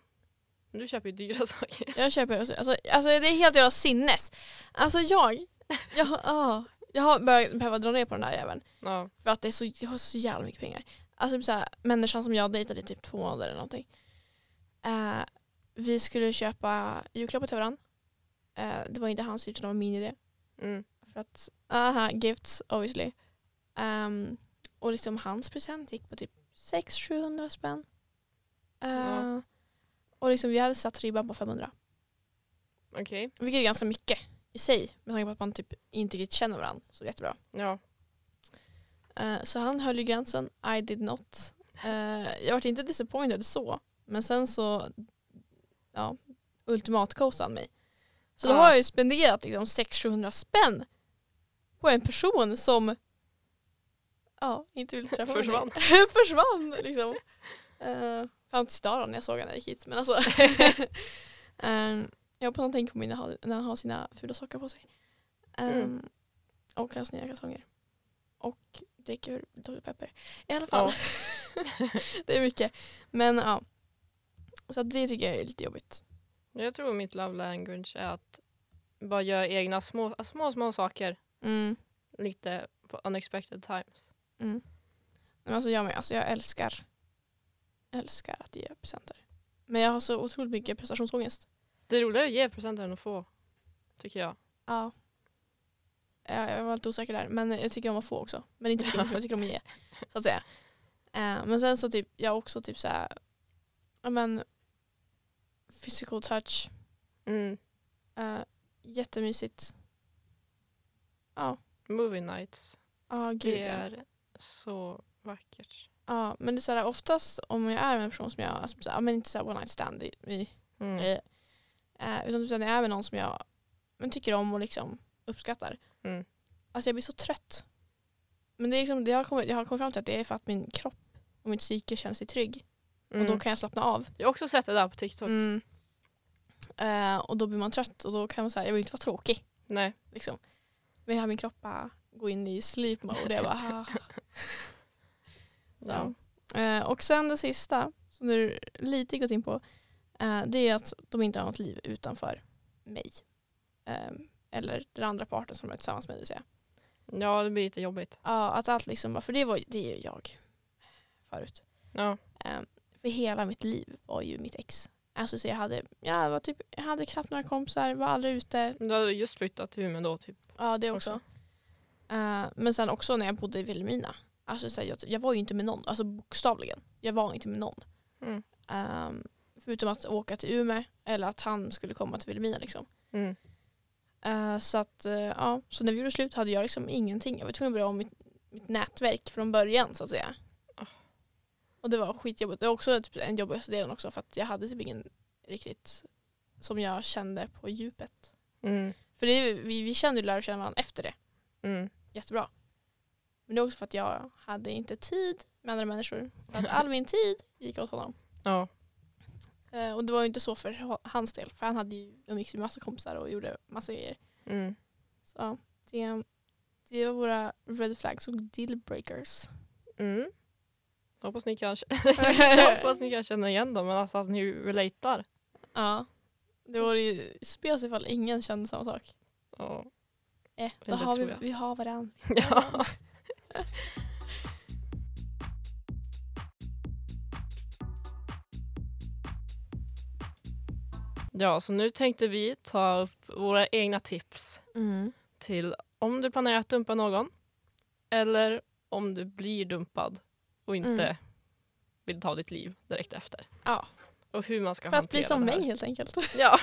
Du köper ju dyra saker. Jag köper också. Alltså, alltså det är helt jävla sinnes. Alltså jag, jag, ah, jag har börjat behöva dra ner på den här jäveln. Ja. För att det är så, jag har så jävla mycket pengar. Alltså typ såhär, människan som jag dejtade i typ två månader eller någonting. Eh, vi skulle köpa julklappar till varandra. Eh, det var inte hans utan det var min idé. Mm. För att, aha, gifts obviously. Ehm, och liksom hans present gick på typ 600-700 spänn. Eh, Ja. Och liksom vi hade satt ribban på 500. Okej. Vilket är ganska mycket i sig. Med tanke på att man typ inte riktigt känner varandra så jättebra. Ja. Eh, Så han höll ju gränsen, I did not. Eh, Jag vart inte disappointed så, men sen så ja, ultimatcoastade han mig. Så då Ja. har jag ju spenderat liksom 600-700 spänn på en person som ja, inte ville träffa mig. Försvann. Försvann liksom. Eh, Fram tills idag då, när jag såg honom när jag gick hit. Men alltså, Ehm, jag hoppas han tänker på mig när han- när han har sina fula sockar på sig. Ehm, Mm. Och hans nya kalsonger. Och dricker Dr. Pepper. I alla fall. det är mycket. Men ja. Så att det tycker jag är lite jobbigt. Jag tror mitt love language är att bara göra egna små, alltså små, små saker Mm. lite på unexpected times. Mm. Men alltså jag med. Alltså jag älskar älskar att ge presenter. Men jag har så otroligt mycket prestationsångest. Det är roligare att ge presenter än att få. tycker jag. Ja. Jag, jag var lite osäker där. Men jag tycker om att få också. Men inte mycket, jag tycker om att ge. Så att säga. Eh, men sen så typ, jag också typ så här, ja men physical touch. Mm. Eh, jättemysigt. Ja, Movie nights. ja gud Det ja. är så vackert. Ja, men det är så här, oftast om jag är med en person som jag, alltså, så här, men inte så här one night stand i, i, Mm. i eh, utan typ så här, när jag är med någon som jag men, tycker om och liksom uppskattar. Mm. Alltså jag blir så trött. Men det är liksom, det jag, har kommit, jag har kommit fram till att det är för att min kropp och mitt psyke känner sig trygg. Mm. Och då kan jag slappna av. Jag har också sett det där på TikTok. Mm. Eh, och då blir man trött och då kan man säga, jag vill inte vara tråkig. Nej. Liksom. Men här min kropp bara går in i sleep mode och jag bara, ah. Ja. Så. Eh, och sen det sista, som du lite gått in på, eh, det är att de inte har något liv utanför mig. Eh, eller den andra parten som de är tillsammans med. Det vill säga. ja, det blir lite jobbigt. Ja, att allt liksom, bara- för det, var, ju- det är ju jag förut. Ja. Eh, för hela mitt liv var ju mitt ex. Alltså, så jag, hade, jag, var typ, jag hade knappt några kompisar, var aldrig ute. Du hade just flyttat till Umeå då typ. Ja, det också. också. Eh, men sen också när jag bodde i Vilhelmina. Alltså, så här, jag, jag var ju inte med någon, alltså bokstavligen. Jag var inte med någon. Mm. Ehm, förutom att åka till Umeå eller att han skulle komma till Vilhelmina. Liksom. Mm. Eh, så, att, eh, ja, så när vi gjorde slut hade jag liksom ingenting. Jag var tvungen att börja om mitt, mitt nätverk från början så att säga. Ah. Och det var skitjobbigt. Det var också typ en jobbigaste delen också för att jag hade typ ingen riktigt som jag kände på djupet. Mm. För det, är ju- vi, vi kände ju lärde känna varandra efter det Mm. jättebra. Men det är också för att jag hade inte tid med andra människor. För att all min tid gick åt honom. Ja. Eh, Och det var ju inte så för ha- hans del. För han hade ju umgicks med massa kompisar och gjorde massa grejer. Mm. Så ja, det, det var våra red flags och deal breakers. Mm. Jag hoppas ni kan, jag hoppas ni kan känna igen dem, men alltså att ni relatar. Ja. Det vore ju spes ifall ingen kände samma sak. Ja. Eh, då Men det har tror vi, jag. vi har varandra. Ja. ja, så nu tänkte vi ta upp våra egna tips Mm. till om du planerar att dumpa någon eller om du blir dumpad och inte Mm. vill ta ditt liv direkt efter. Ja. Och hur man ska För att hantera bli som det här. mig helt enkelt. Ja.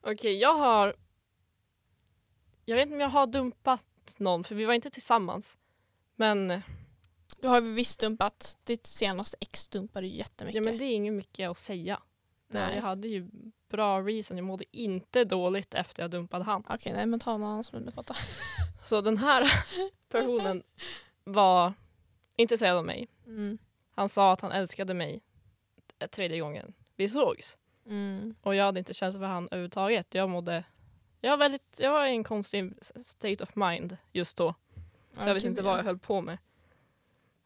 Okej, jag har... Jag vet inte om jag har dumpat någon, för vi var inte tillsammans. Men, Du har ju visst dumpat. Ditt senaste ex dumpade ju jättemycket. ja, men det är inget mycket att säga. nej. Jag hade ju bra reason. Jag mådde inte dåligt efter jag dumpade han. Okej, nej men ta någon annan som du vill prata. Så den här personen var intresserad av mig. Mm. Han sa att han älskade mig tredje gången vi sågs. Mm. Och jag hade inte känt för han överhuvudtaget. Jag mådde... Jag var, väldigt, jag var i en konstig state of mind just då. Så jag vet inte vad jag höll på med.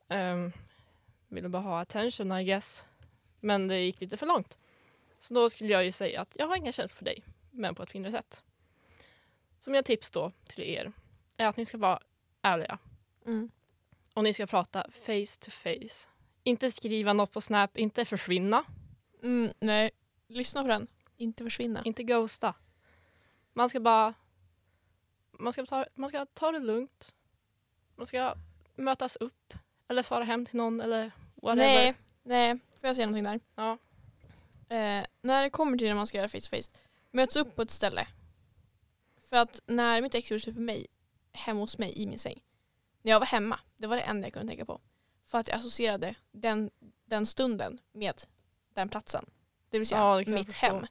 Um, ville bara ha attention I guess. Men det gick lite för långt. Så då skulle jag ju säga att jag har inga känslor för dig, men på ett finare sätt. Så mina tips då till er är att ni ska vara ärliga Mm. och ni ska prata face to face. Inte skriva något på Snap, inte försvinna, Mm, nej, lyssna på den. Inte försvinna. inte ghosta. Man ska bara... Man ska ta, man ska ta det lugnt. Man ska mötas upp eller fara hem till någon eller whatever. Nej, nej, får jag säga någonting där? Ja. Eh, när det kommer till det man ska göra face to face, möts upp på ett ställe. För att när mitt ex gjorde slut på mig, hemma hos mig i min säng, när jag var hemma, det var det enda jag kunde tänka på. För att jag associerade den, den stunden med den platsen. Det vill säga Ja, det kan jag mitt förstå. hem.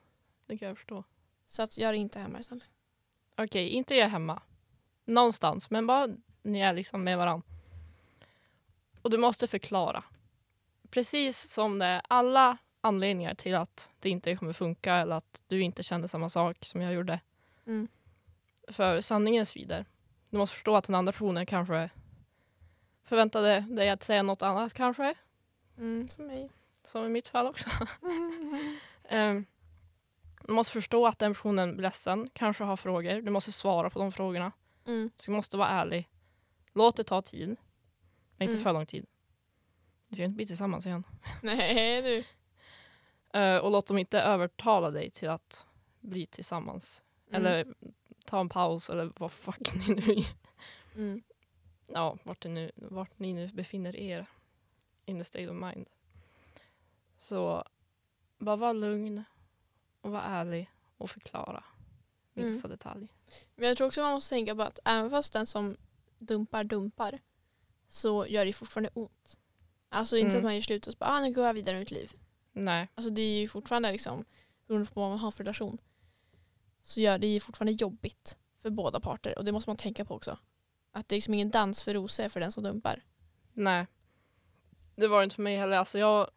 Det kan jag förstå. Så att jag är inte hemma sen. Okej, inte jag hemma. Någonstans, men bara ni är liksom med varandra. Och du måste förklara. Precis som det är alla anledningar till att det inte kommer funka eller att du inte kände samma sak som jag gjorde. Mm. För sanningen svider. Du måste förstå att den andra personen kanske förväntade dig att säga något annat kanske. Mm, som mig. Som i mitt fall också. Ehm, du måste förstå att den personen blir ledsen, kanske har frågor. Du måste svara på de frågorna. Mm. Så du måste vara ärlig. Låt det ta tid. Men inte Mm. för lång tid. Ni ska inte bli tillsammans igen. Nej du. Eh, och låt dem inte övertala dig till att bli tillsammans Eller ta en paus eller vad fuck ni nu Mm. ja, vart, det nu, vart ni nu befinner er in the state of mind. Så bara var lugn och var ärlig och förklara minsta detalj. Men jag tror också man måste tänka på att även fast den som dumpar dumpar så gör det fortfarande ont. Alltså inte Mm. att man gör slut och så bara, ah, nu går jag vidare med mitt liv. Nej, Alltså det är ju fortfarande liksom, beroende på vad man har för relation, så gör det ju fortfarande jobbigt för båda parter och det måste man tänka på också. Att det är liksom ingen dans för rosor för den som dumpar. nej. Det var det inte för mig heller. Alltså jag,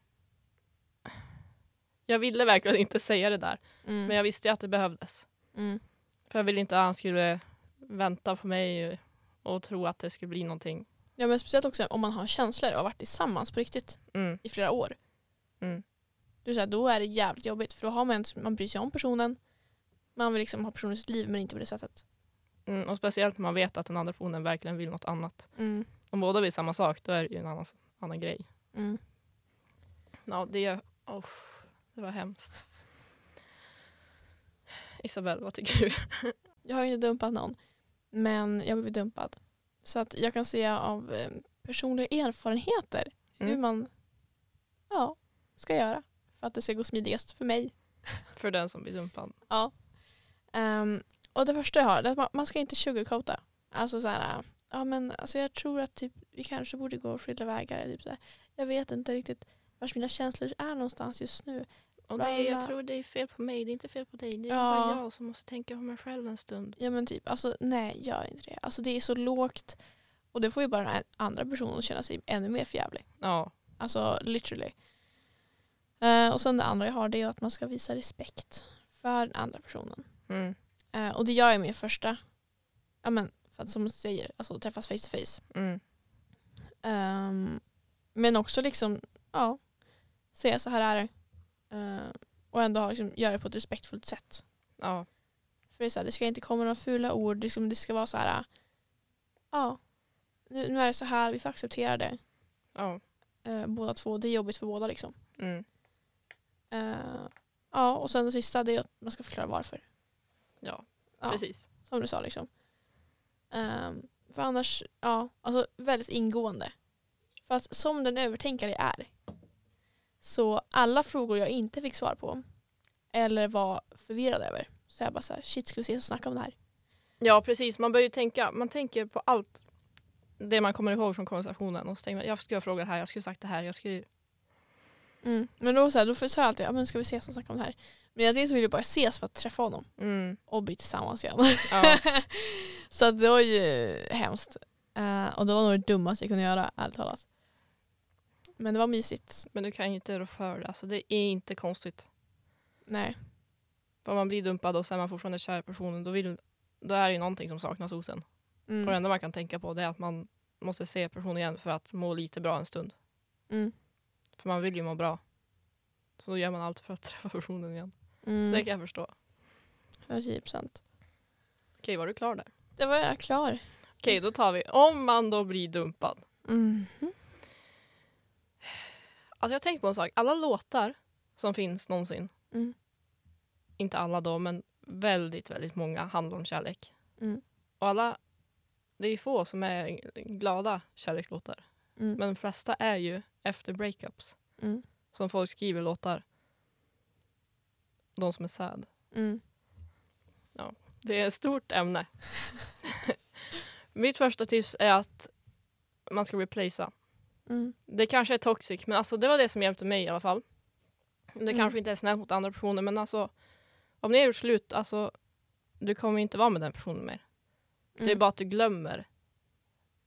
jag ville verkligen inte säga det där. Mm. Men jag visste ju att det behövdes. Mm. För jag ville inte att han skulle vänta på mig och tro att det skulle bli någonting. Ja men speciellt också om man har känslor och har varit tillsammans på riktigt Mm, i flera år. mm. Du säger, då är det jävligt jobbigt för då har man, man bryr sig om personen. Man vill liksom ha personen i sitt liv men inte på det sättet. Mm, och speciellt när man vet att den andra personen verkligen vill något annat. Mm. Om båda vill samma sak, då är det ju en annan, annan grej. Mm. Ja, det, oh, det var hemskt. Isabel, vad tycker du? Jag har ju inte dumpat någon men jag blev dumpad. Så att jag kan se av eh, personliga erfarenheter hur Mm. man ja, ska göra för att det ska gå smidigast för mig. För den som blir dumpad. Ehm, och det första jag har det är att man, man ska inte sugarcoata. Alltså så här, äh, ja men alltså jag tror att typ, vi kanske borde gå skilda vägar. eller Typ så här. Jag vet inte riktigt vars mina känslor är någonstans just nu. Och det är- jag tror det är fel på mig, det är inte fel på dig. Det är bara Ja. jag som måste tänka på mig själv en stund. Ja men typ, alltså nej gör inte det. Alltså det är så lågt. Och det får ju bara den här andra personen att känna sig ännu mer förjävlig. Ja, Alltså literally. Eh, och sen det andra jag har det är att man ska visa respekt för den andra personen. mm, Eh, och det gör jag med första, ja men för att som du säger, alltså träffas face to face. mm, Ehm, men också liksom, ja, säga så här är det. Eh, och ändå ha, liksom, göra det på ett respektfullt sätt. ja, För det, är så här, det ska inte komma några fula ord, liksom, det ska vara så här, ja, nu, nu är det så här, vi får acceptera det. ja, eh, båda två, det är jobbigt för båda liksom. mm, Eh, ja, och sen det sista, det är att man ska förklara varför. ja, Ja. precis. Som du sa liksom. Ehm, för annars, ja, alltså väldigt ingående. För att som den övertänkare jag är så alla frågor jag inte fick svar på eller var förvirrad över så jag bara så här, shit ska vi ses och snacka om det här? Ja, precis. Man bör ju tänka, man tänker på allt det man kommer ihåg från konversationen och så tänker man, jag skulle ha frågat det här, jag skulle ha sagt det här, jag skulle ju- Mm. Men då, så här, då sa jag alltid, ja men ska vi ses och snacka om det här? Men egentligen så ville jag bara ses för att träffa honom mm, och bli tillsammans igen. ja, så att det var ju hemskt. Eh, och det var nog det dummaste jag kunde göra, ärligt talat. Men det var mysigt. Men du kan ju inte rå för det. Alltså, det är inte konstigt. Nej. Om man blir dumpad och sen är man fortfarande kär i personen, då, vill, då är det ju någonting som saknas hos en. Mm. Och det enda man kan tänka på det är att man måste se personen igen för att må lite bra en stund. Mm. För man vill ju må bra. Så då gör man allt för att träffa personen igen. Så Det Mm. kan jag förstå. 110%. Okej, var du klar där? typ Det var jag klar. Okej, då tar vi om man då blir dumpad. Mm. Alltså jag har tänkt på en sak. Alla låtar som finns någonsin, Mm. inte alla då, men väldigt, väldigt många handlar om kärlek. Mm. Och alla, det är få som är glada kärlekslåtar. Mm. Men de flesta är ju efter breakups. Mm. Som folk skriver låtar. De som är sad. Mm. Det är ett stort ämne. Mitt första tips är att man ska replacea. Mm. Det kanske är toxic, men alltså det var det som hjälpte mig i alla fall. Det Mm. kanske inte är snällt mot andra personer, men alltså om ni har gjort slut, alltså du kommer inte vara med den personen mer. Det Mm. är bara att du glömmer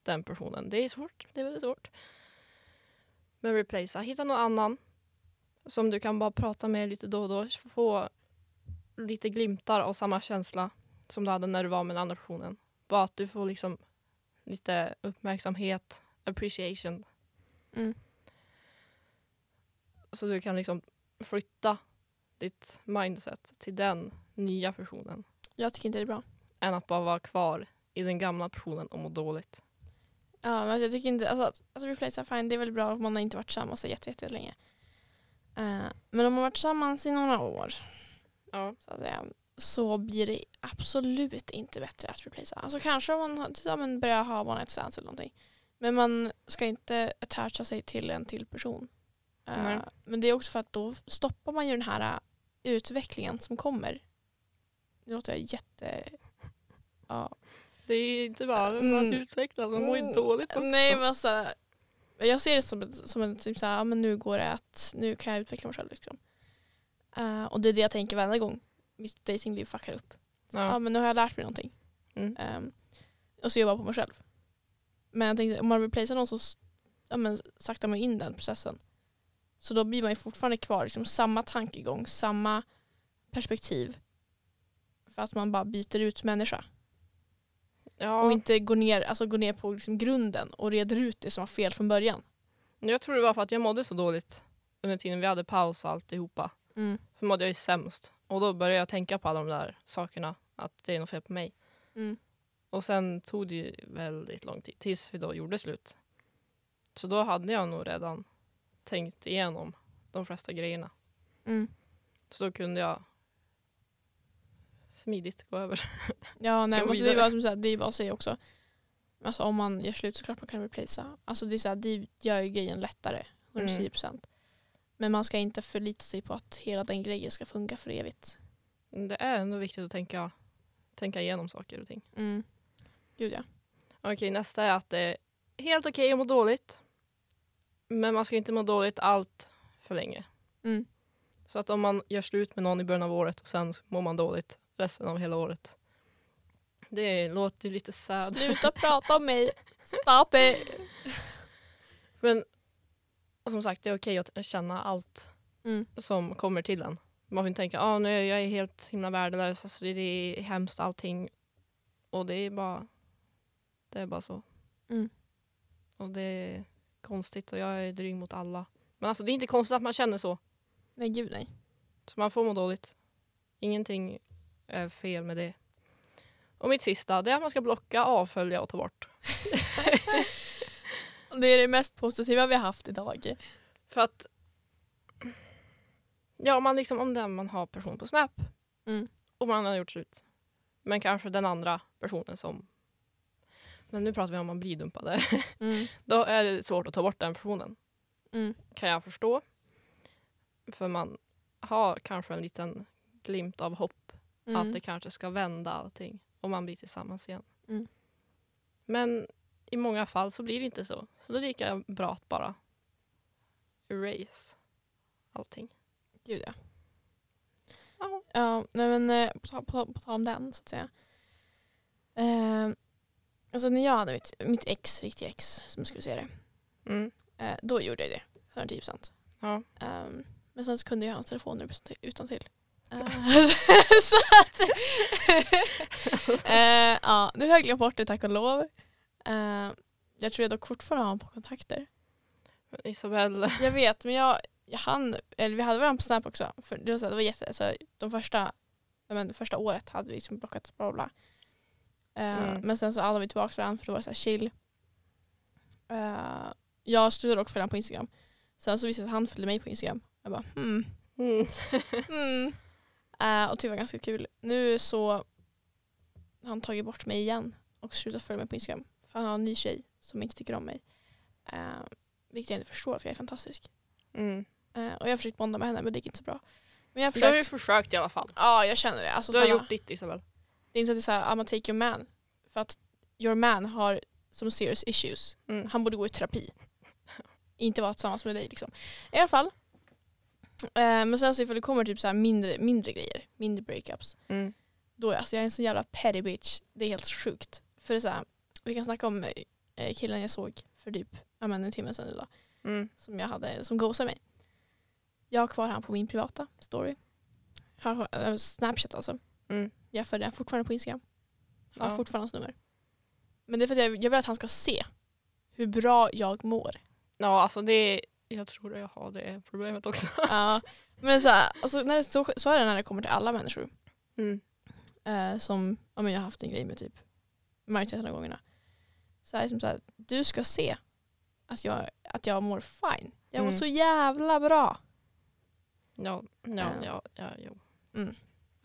den personen. Det är svårt. Det är väldigt svårt. Men replacea. Hitta någon annan som du kan bara prata med lite då och då. Få lite glimtar av samma känsla som du hade när du var med den andra personen. Bara att du får liksom lite uppmärksamhet, appreciation. Mm. Så du kan liksom flytta ditt mindset till den nya personen Jag tycker inte det är bra. än att bara vara kvar i den gamla personen och må dåligt. Ja, men jag tycker inte, alltså, att- alltså replace are fine, det är väl bra om man har inte varit tillsammans så jätte, Eh, jätte länge. men om man har varit tillsammans i några år Ja. så att säga, så blir det absolut inte bättre att replacea. Alltså kanske om man har- ja, men börjar ha one night stands eller någonting. Men man ska inte attacha sig till en till person. Eh, Nej. men det är också för att då stoppar man ju den här eh, utvecklingen som kommer. Nu låter jag jätte... Ja. Det är inte bara Mm. man utvecklas, man mår ju Mm. dåligt också. Nej men så här, jag ser det som, ett- som en typ så här, ja, men nu går det att, nu kan jag utveckla mig själv liksom. Eh, och det är det jag tänker varenda gång mitt datingliv fuckar upp. Så, Ja. ja. men nu har jag lärt mig någonting. Mm. Ehm, och så jobbar jag på mig själv. Men jag tänkte, om man replacear någon så s- ja, men, saktar man in den processen. Så då blir man ju fortfarande kvar liksom, samma tankegång, samma perspektiv. För att man bara byter ut människa. Ja, Och inte går ner, alltså, går ner på liksom, grunden och reder ut det som var fel från början. Jag tror det var för att jag mådde så dåligt under tiden vi hade paus och alltihopa. För mådde jag ju sämst. Och då började jag tänka på alla de där sakerna, att det är något fel på mig. Mm. Och sen tog det ju väldigt lång tid tills vi då gjorde slut. Så då hade jag nog redan tänkt igenom de flesta grejerna. Mm. Så då kunde jag smidigt gå över. Ja, nej, Gå men alltså, det är vidare. bara som såhär, det är bara att säga också. Alltså, om man gör slut så klart man kan replacea. Alltså, det, är såhär, det gör ju grejen lättare, 110 procent. Men man ska inte förlita sig på att hela den grejen ska funka för evigt. Det är ändå viktigt att tänka, tänka igenom saker och ting. Mm. Gud ja. Okej, nästa är att det är helt okej att må dåligt. Men man ska inte må dåligt allt för länge. Mm. Så att om man gör slut med någon i början av året och sen mår man dåligt resten av hela året. Det låter lite sad. Sluta prata om mig. Stop it. Men som sagt, det är okej att känna allt Mm. som kommer till en. Man får inte tänka att nu är jag är helt himla värdelös, alltså, det är hemskt allting. Och det är bara, det är bara så. Mm. Och det är konstigt och jag är dryg mot alla. Men alltså det är inte konstigt att man känner så. Nej, gud nej. Så man får må dåligt. Ingenting är fel med det. Och mitt sista, det är att man ska blocka, avfölja och ta bort. Det är det mest positiva vi har haft idag. För att ja, om man liksom om den man har person på Snap Mm. och man har gjort slut. Men kanske den andra personen som men nu pratar vi om man blir dumpad. Mm. Då är det svårt att ta bort den personen. Mm. Kan jag förstå. För man har kanske en liten glimt av hopp Mm. att det kanske ska vända allting och man blir tillsammans igen. Mm. Men i många fall så blir det inte så. Så då är det lika bra att bara erase allting. Gud ja. Ja. Ja, nej men eh, på, ta- på, på tal om den så att säga. Eh, alltså när jag hade mitt, mitt ex, riktiga ex som jag skulle säga det, Mm. eh, då gjorde jag det. 110 procent. Ja. Ehm, men sen så kunde jag hans telefonnummer utan till. Eh, så att... eh, ja, nu har jag glömt bort det tack och lov. Eh, jag tror jag dock fortfarande har honom på kontakter. Men Isabelle, Jag vet, men jag, jag hann, eller vi hade varandra på Snap också. För det var, så här, det var jätte, så här, de första, ja, men, det första året hade vi liksom blockat bla bla. bla. Eh, Mm. Men sen så alla vi tillbaka till varandra för då var det så här chill. Eh, jag slutade dock följa honom på Instagram. Sen så visade det sig att han följde mig på Instagram. Jag bara hmm. mm. Mm. Eh, och det var ganska kul. Nu så har han tagit bort mig igen och slutat följa mig på Instagram. För han har en ny tjej som inte tycker om mig. Eh, vilket jag inte förstår för jag är fantastisk. Mm. Eh, och jag har försökt bonda med henne men det gick inte så bra. Men jag har du har ju försökt. försökt i alla fall. Ja jag känner det. Alltså, Du har snälla. gjort ditt Isabelle. Det är inte så att det är såhär, I'm gonna take your man. För att your man har som serious issues. Mm. Han borde gå i terapi. Inte vara tillsammans med dig liksom. I alla fall. Eh, men sen så ifall det kommer typ så här mindre, mindre grejer, mindre breakups. Mm. Då är alltså jag är en sån jävla petty bitch. Det är helt sjukt. För det är så här, vi kan snacka om eh, killen jag såg för typ ja, men en timme sedan idag. Mm. Som jag hade, som ghostade mig. Jag har kvar han på min privata story. Har- eh, Snapchat alltså. Mm. Jag följer han fortfarande på Instagram. Han har Ja. fortfarande hans nummer. Men det är för att jag, jag vill att han ska se hur bra jag mår. Ja, alltså det jag tror att jag har det problemet också. Ja, men så, här, alltså, när det, så, så är det när det kommer till alla människor. Mm. Eh, som ja, men jag har haft en grej med typ majoriteten av gångerna. Så är det som så här, du ska se att jag, att jag mår fine. Jag mår Mm. så jävla bra. Ja, ja, Ja. ja, ja, jo. Mm.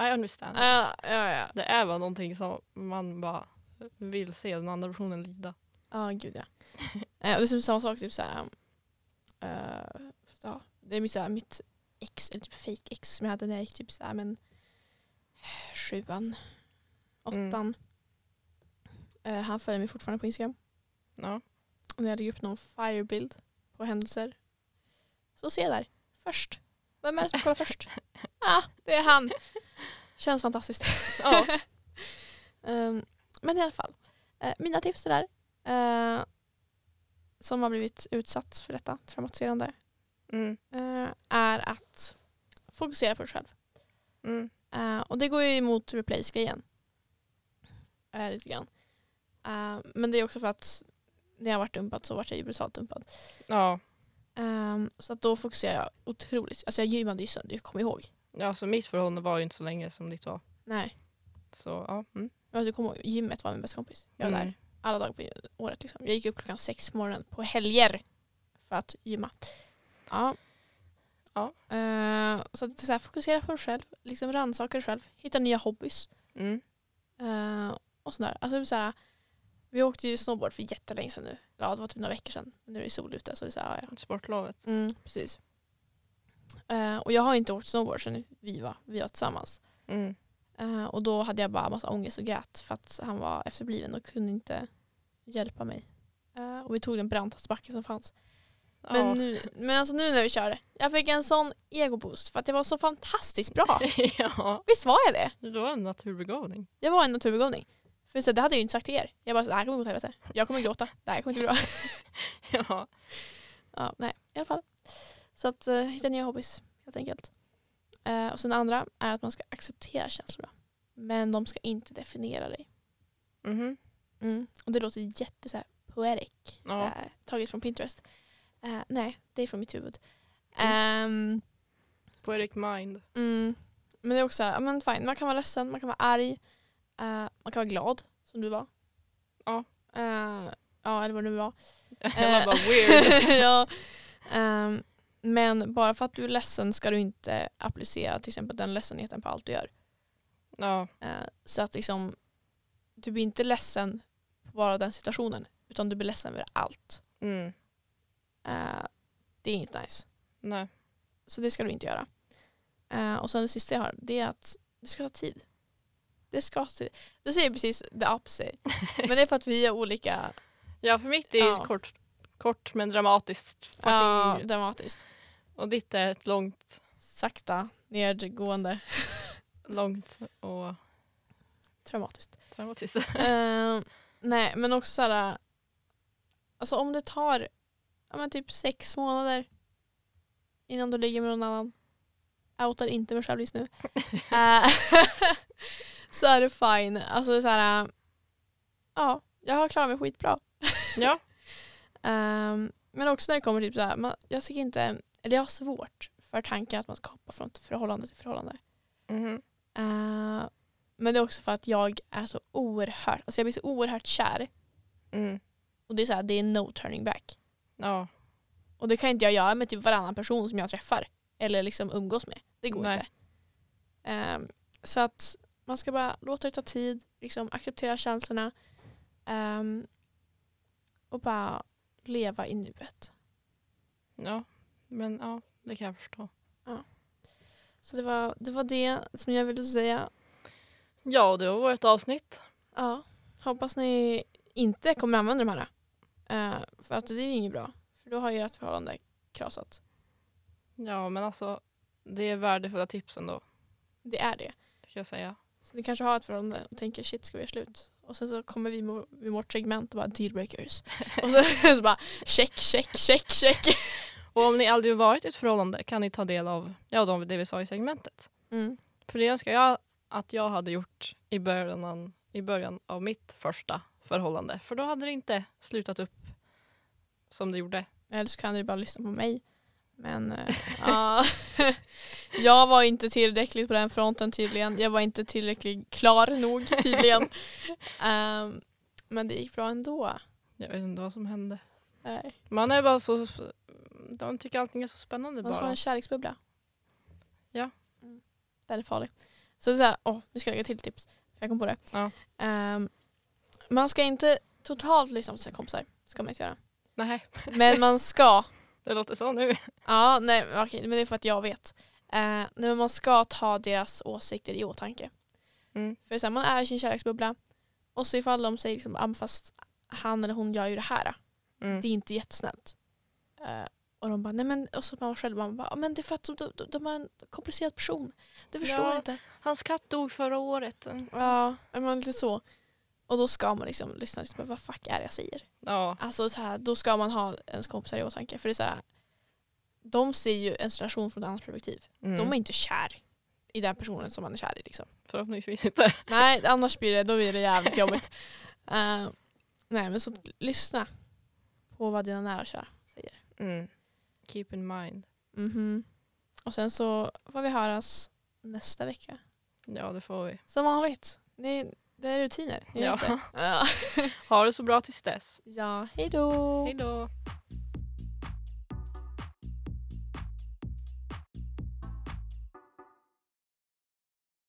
I understand. Ja, ja, ja. Det är väl någonting som man bara vill se den andra personen lida. Ja, gud ja. Eh, och det är som samma sak, typ såhär. eh, fast, ja, det är mitt, såhär, mitt ex, eller typ fake ex som jag hade när jag gick typ såhär, men eh, sjuan, Mm. åttan. Eh, han följer mig fortfarande på Instagram. Ja. Och när jag lägger upp någon firebild på händelser. Så se där, först. Vem är det som kollar först? Ah, det är han. Känns fantastiskt. ja. Ehm, men i alla fall, eh, mina tips är där. eh, som har blivit utsatt för detta traumatiserande Mm. eh, är att fokusera på dig själv. Mm. Eh, och det går ju emot replace-grejen. Eh, lite grann. Eh, men det är också för att när jag varit dumpad så vart jag ju brutalt dumpad. ja. Ehm, så att då fokuserar jag otroligt. Alltså jag gymmade ju sönder, jag kommer ihåg. Ja, så mitt förhållande var ju inte så länge som ditt var. Nej, Så ja. Mm. men du kommer ihåg, gymmet var min bästa kompis. Jag var där Mm. alla dagar på året. Liksom. Jag gick upp klockan sex på morgonen på helger för att gymma. Ja. Ja. Eh, så att det är så här, fokusera på dig själv, liksom rannsaka dig själv, hitta nya hobbys. Mm. eh, och sådär. Alltså, det är så här, vi åkte ju snowboard för jättelänge sedan nu. Ja, det var typ några veckor sedan. Nu är det sol ute. Så det är så här, ja, Sportlovet. ja. Mm, precis. Eh, och jag har inte åkt snowboard sedan vi var, vi var tillsammans. Mm. Eh, och då hade jag bara massa ångest och grät för att han var efterbliven och kunde inte hjälpa mig. Eh, och vi tog den brantaste backen som fanns. Ja. Men, nu, men alltså nu när vi körde, jag fick en sån egoboost för att jag var så fantastiskt bra. ja, Visst var jag det? du var en naturbegåvning. Jag var en naturbegåvning. För så, det hade jag ju inte sagt till er. Jag bara, så, det här kommer gå åt helvete. Jag kommer gråta. Det här kommer inte gå bra. ja. Ja, nej, i alla fall. Så att eh, hitta nya hobbys helt enkelt. Eh, och sen det andra är att man ska acceptera känslorna. Men de ska inte definiera dig. Mhm. Mm. Och det låter jätte så här, poetic. Så Ja. här, taget från Pinterest. Eh, nej, det är från mitt huvud. Mm. Ehm, Poetic mind. mm, men det är också så här, ja, men fine. man kan vara ledsen, man kan vara arg, eh, man kan vara glad som du var. Ja. Eh, ja, eller vad det nu var. Jag var Eh. bara weird. ja. Ehm, men bara för att du är ledsen ska du inte applicera till exempel den ledsenheten på allt du gör. ja. Eh, så att liksom, du blir inte ledsen på bara den situationen utan du blir ledsen över allt. Mm. Eh, det är inte nice. Nej. Så det ska du inte göra. Eh, och sen det sista jag har, det är att det ska ta tid. Det ska ta tid. Du säger precis the opposite. Men det är för att vi är olika Ja, för mitt är ju Ja. kort, kort men dramatiskt. Fucking. ja, dramatiskt. Och ditt är ett långt, Sakta, nedgående, långt och traumatiskt. dramatiskt. Eh, nej, men också såhär, alltså om det tar ja, men typ sex månader innan du ligger med någon annan, outar inte mig själv just nu, Eh, så är det fine. Alltså så här, ja, jag har klarat mig skitbra. ja. Ehm, men också när det kommer typ så här, man, jag tycker inte, eller jag har svårt för tanken att man ska hoppa från ett förhållande till förhållande. Mhm. Eh, men det är också för att jag är så oerhört, alltså jag blir så oerhört kär Mm. och det är så här, det är no turning back. Ja. Och det kan inte jag göra med typ varannan person som jag träffar eller liksom umgås med. Det går Nej. inte. Ehm, så att man ska bara låta det ta tid, liksom acceptera känslorna ehm, och bara leva i nuet. ja. Men ja, det kan jag förstå. Så det var, det var det som jag ville säga. Ja, det var vårt avsnitt. Ja, hoppas ni inte kommer använda de här. Eh, för att det är ju inget bra. För då har ju ert förhållande krasat. Ja, men alltså det är värdefulla tips ändå, Det är det. kan jag säga. Så ni kanske har ett förhållande och tänker shit ska vi göra slut? Och sen så kommer vi med- med vårt segment och bara dealbreakers. och så, så bara check, check, check, check. Och om ni aldrig varit i ett förhållande kan ni ta del av ja, de- det vi sa i segmentet. Mm. För det önskar jag att jag hade gjort i början, i början av mitt första förhållande. För då hade det inte slutat upp som det gjorde. Eller så kan du bara lyssna på mig. Men eh, ja. jag var inte tillräckligt på den fronten tydligen. Jag var inte tillräckligt klar nog tydligen. Ehm, men det gick bra ändå. Eh, Jag vet inte vad som hände. Nej. Man är bara så... De tycker allting är så spännande Man har bara. en kärleksbubbla. Ja. Mm. Den är farlig. Så det är så här, åh, nu ska jag lägga till tips. Jag kom på det. Ja. Ehm, man ska inte totalt lyssna på sina kompisar. Ska man inte göra. Nej, Men man ska. det låter så nu. Ja, nej men okej, men det är för att jag vet. Eh, nej, men man ska ta deras åsikter i åtanke. Mm. För så här, man är i sin kärleksbubbla. Och så ifall de säger liksom, "Ah, men fast han eller hon gör ju det här. Mm. det är inte jättesnällt. Eh, och de bara, nej men, och så man själv man bara, "Ja, men det är för att de, de, de är en komplicerad person. Du förstår Ja. inte. Hans katt dog förra året. Mm. Ja, men lite så. Och då ska man liksom lyssna, liksom, vad fuck är det jag säger? Ja, Alltså så här, då ska man ha ens kompisar i åtanke. För det är så här, de ser ju en relation från ett annat perspektiv. mm. De är inte kär i den personen som man är kär i liksom. förhoppningsvis inte. Nej, annars blir det, då blir det jävligt jobbigt. Eh, nej men så lyssna på vad dina nära och kära Mm. Keep in mind. Mhm. Och sen så får vi höras nästa vecka. Ja, det får vi. Som vanligt. Det, det är rutiner. ni vet Ja. det. Ja. Ha det så bra tills dess. ja, hej då. Hej då.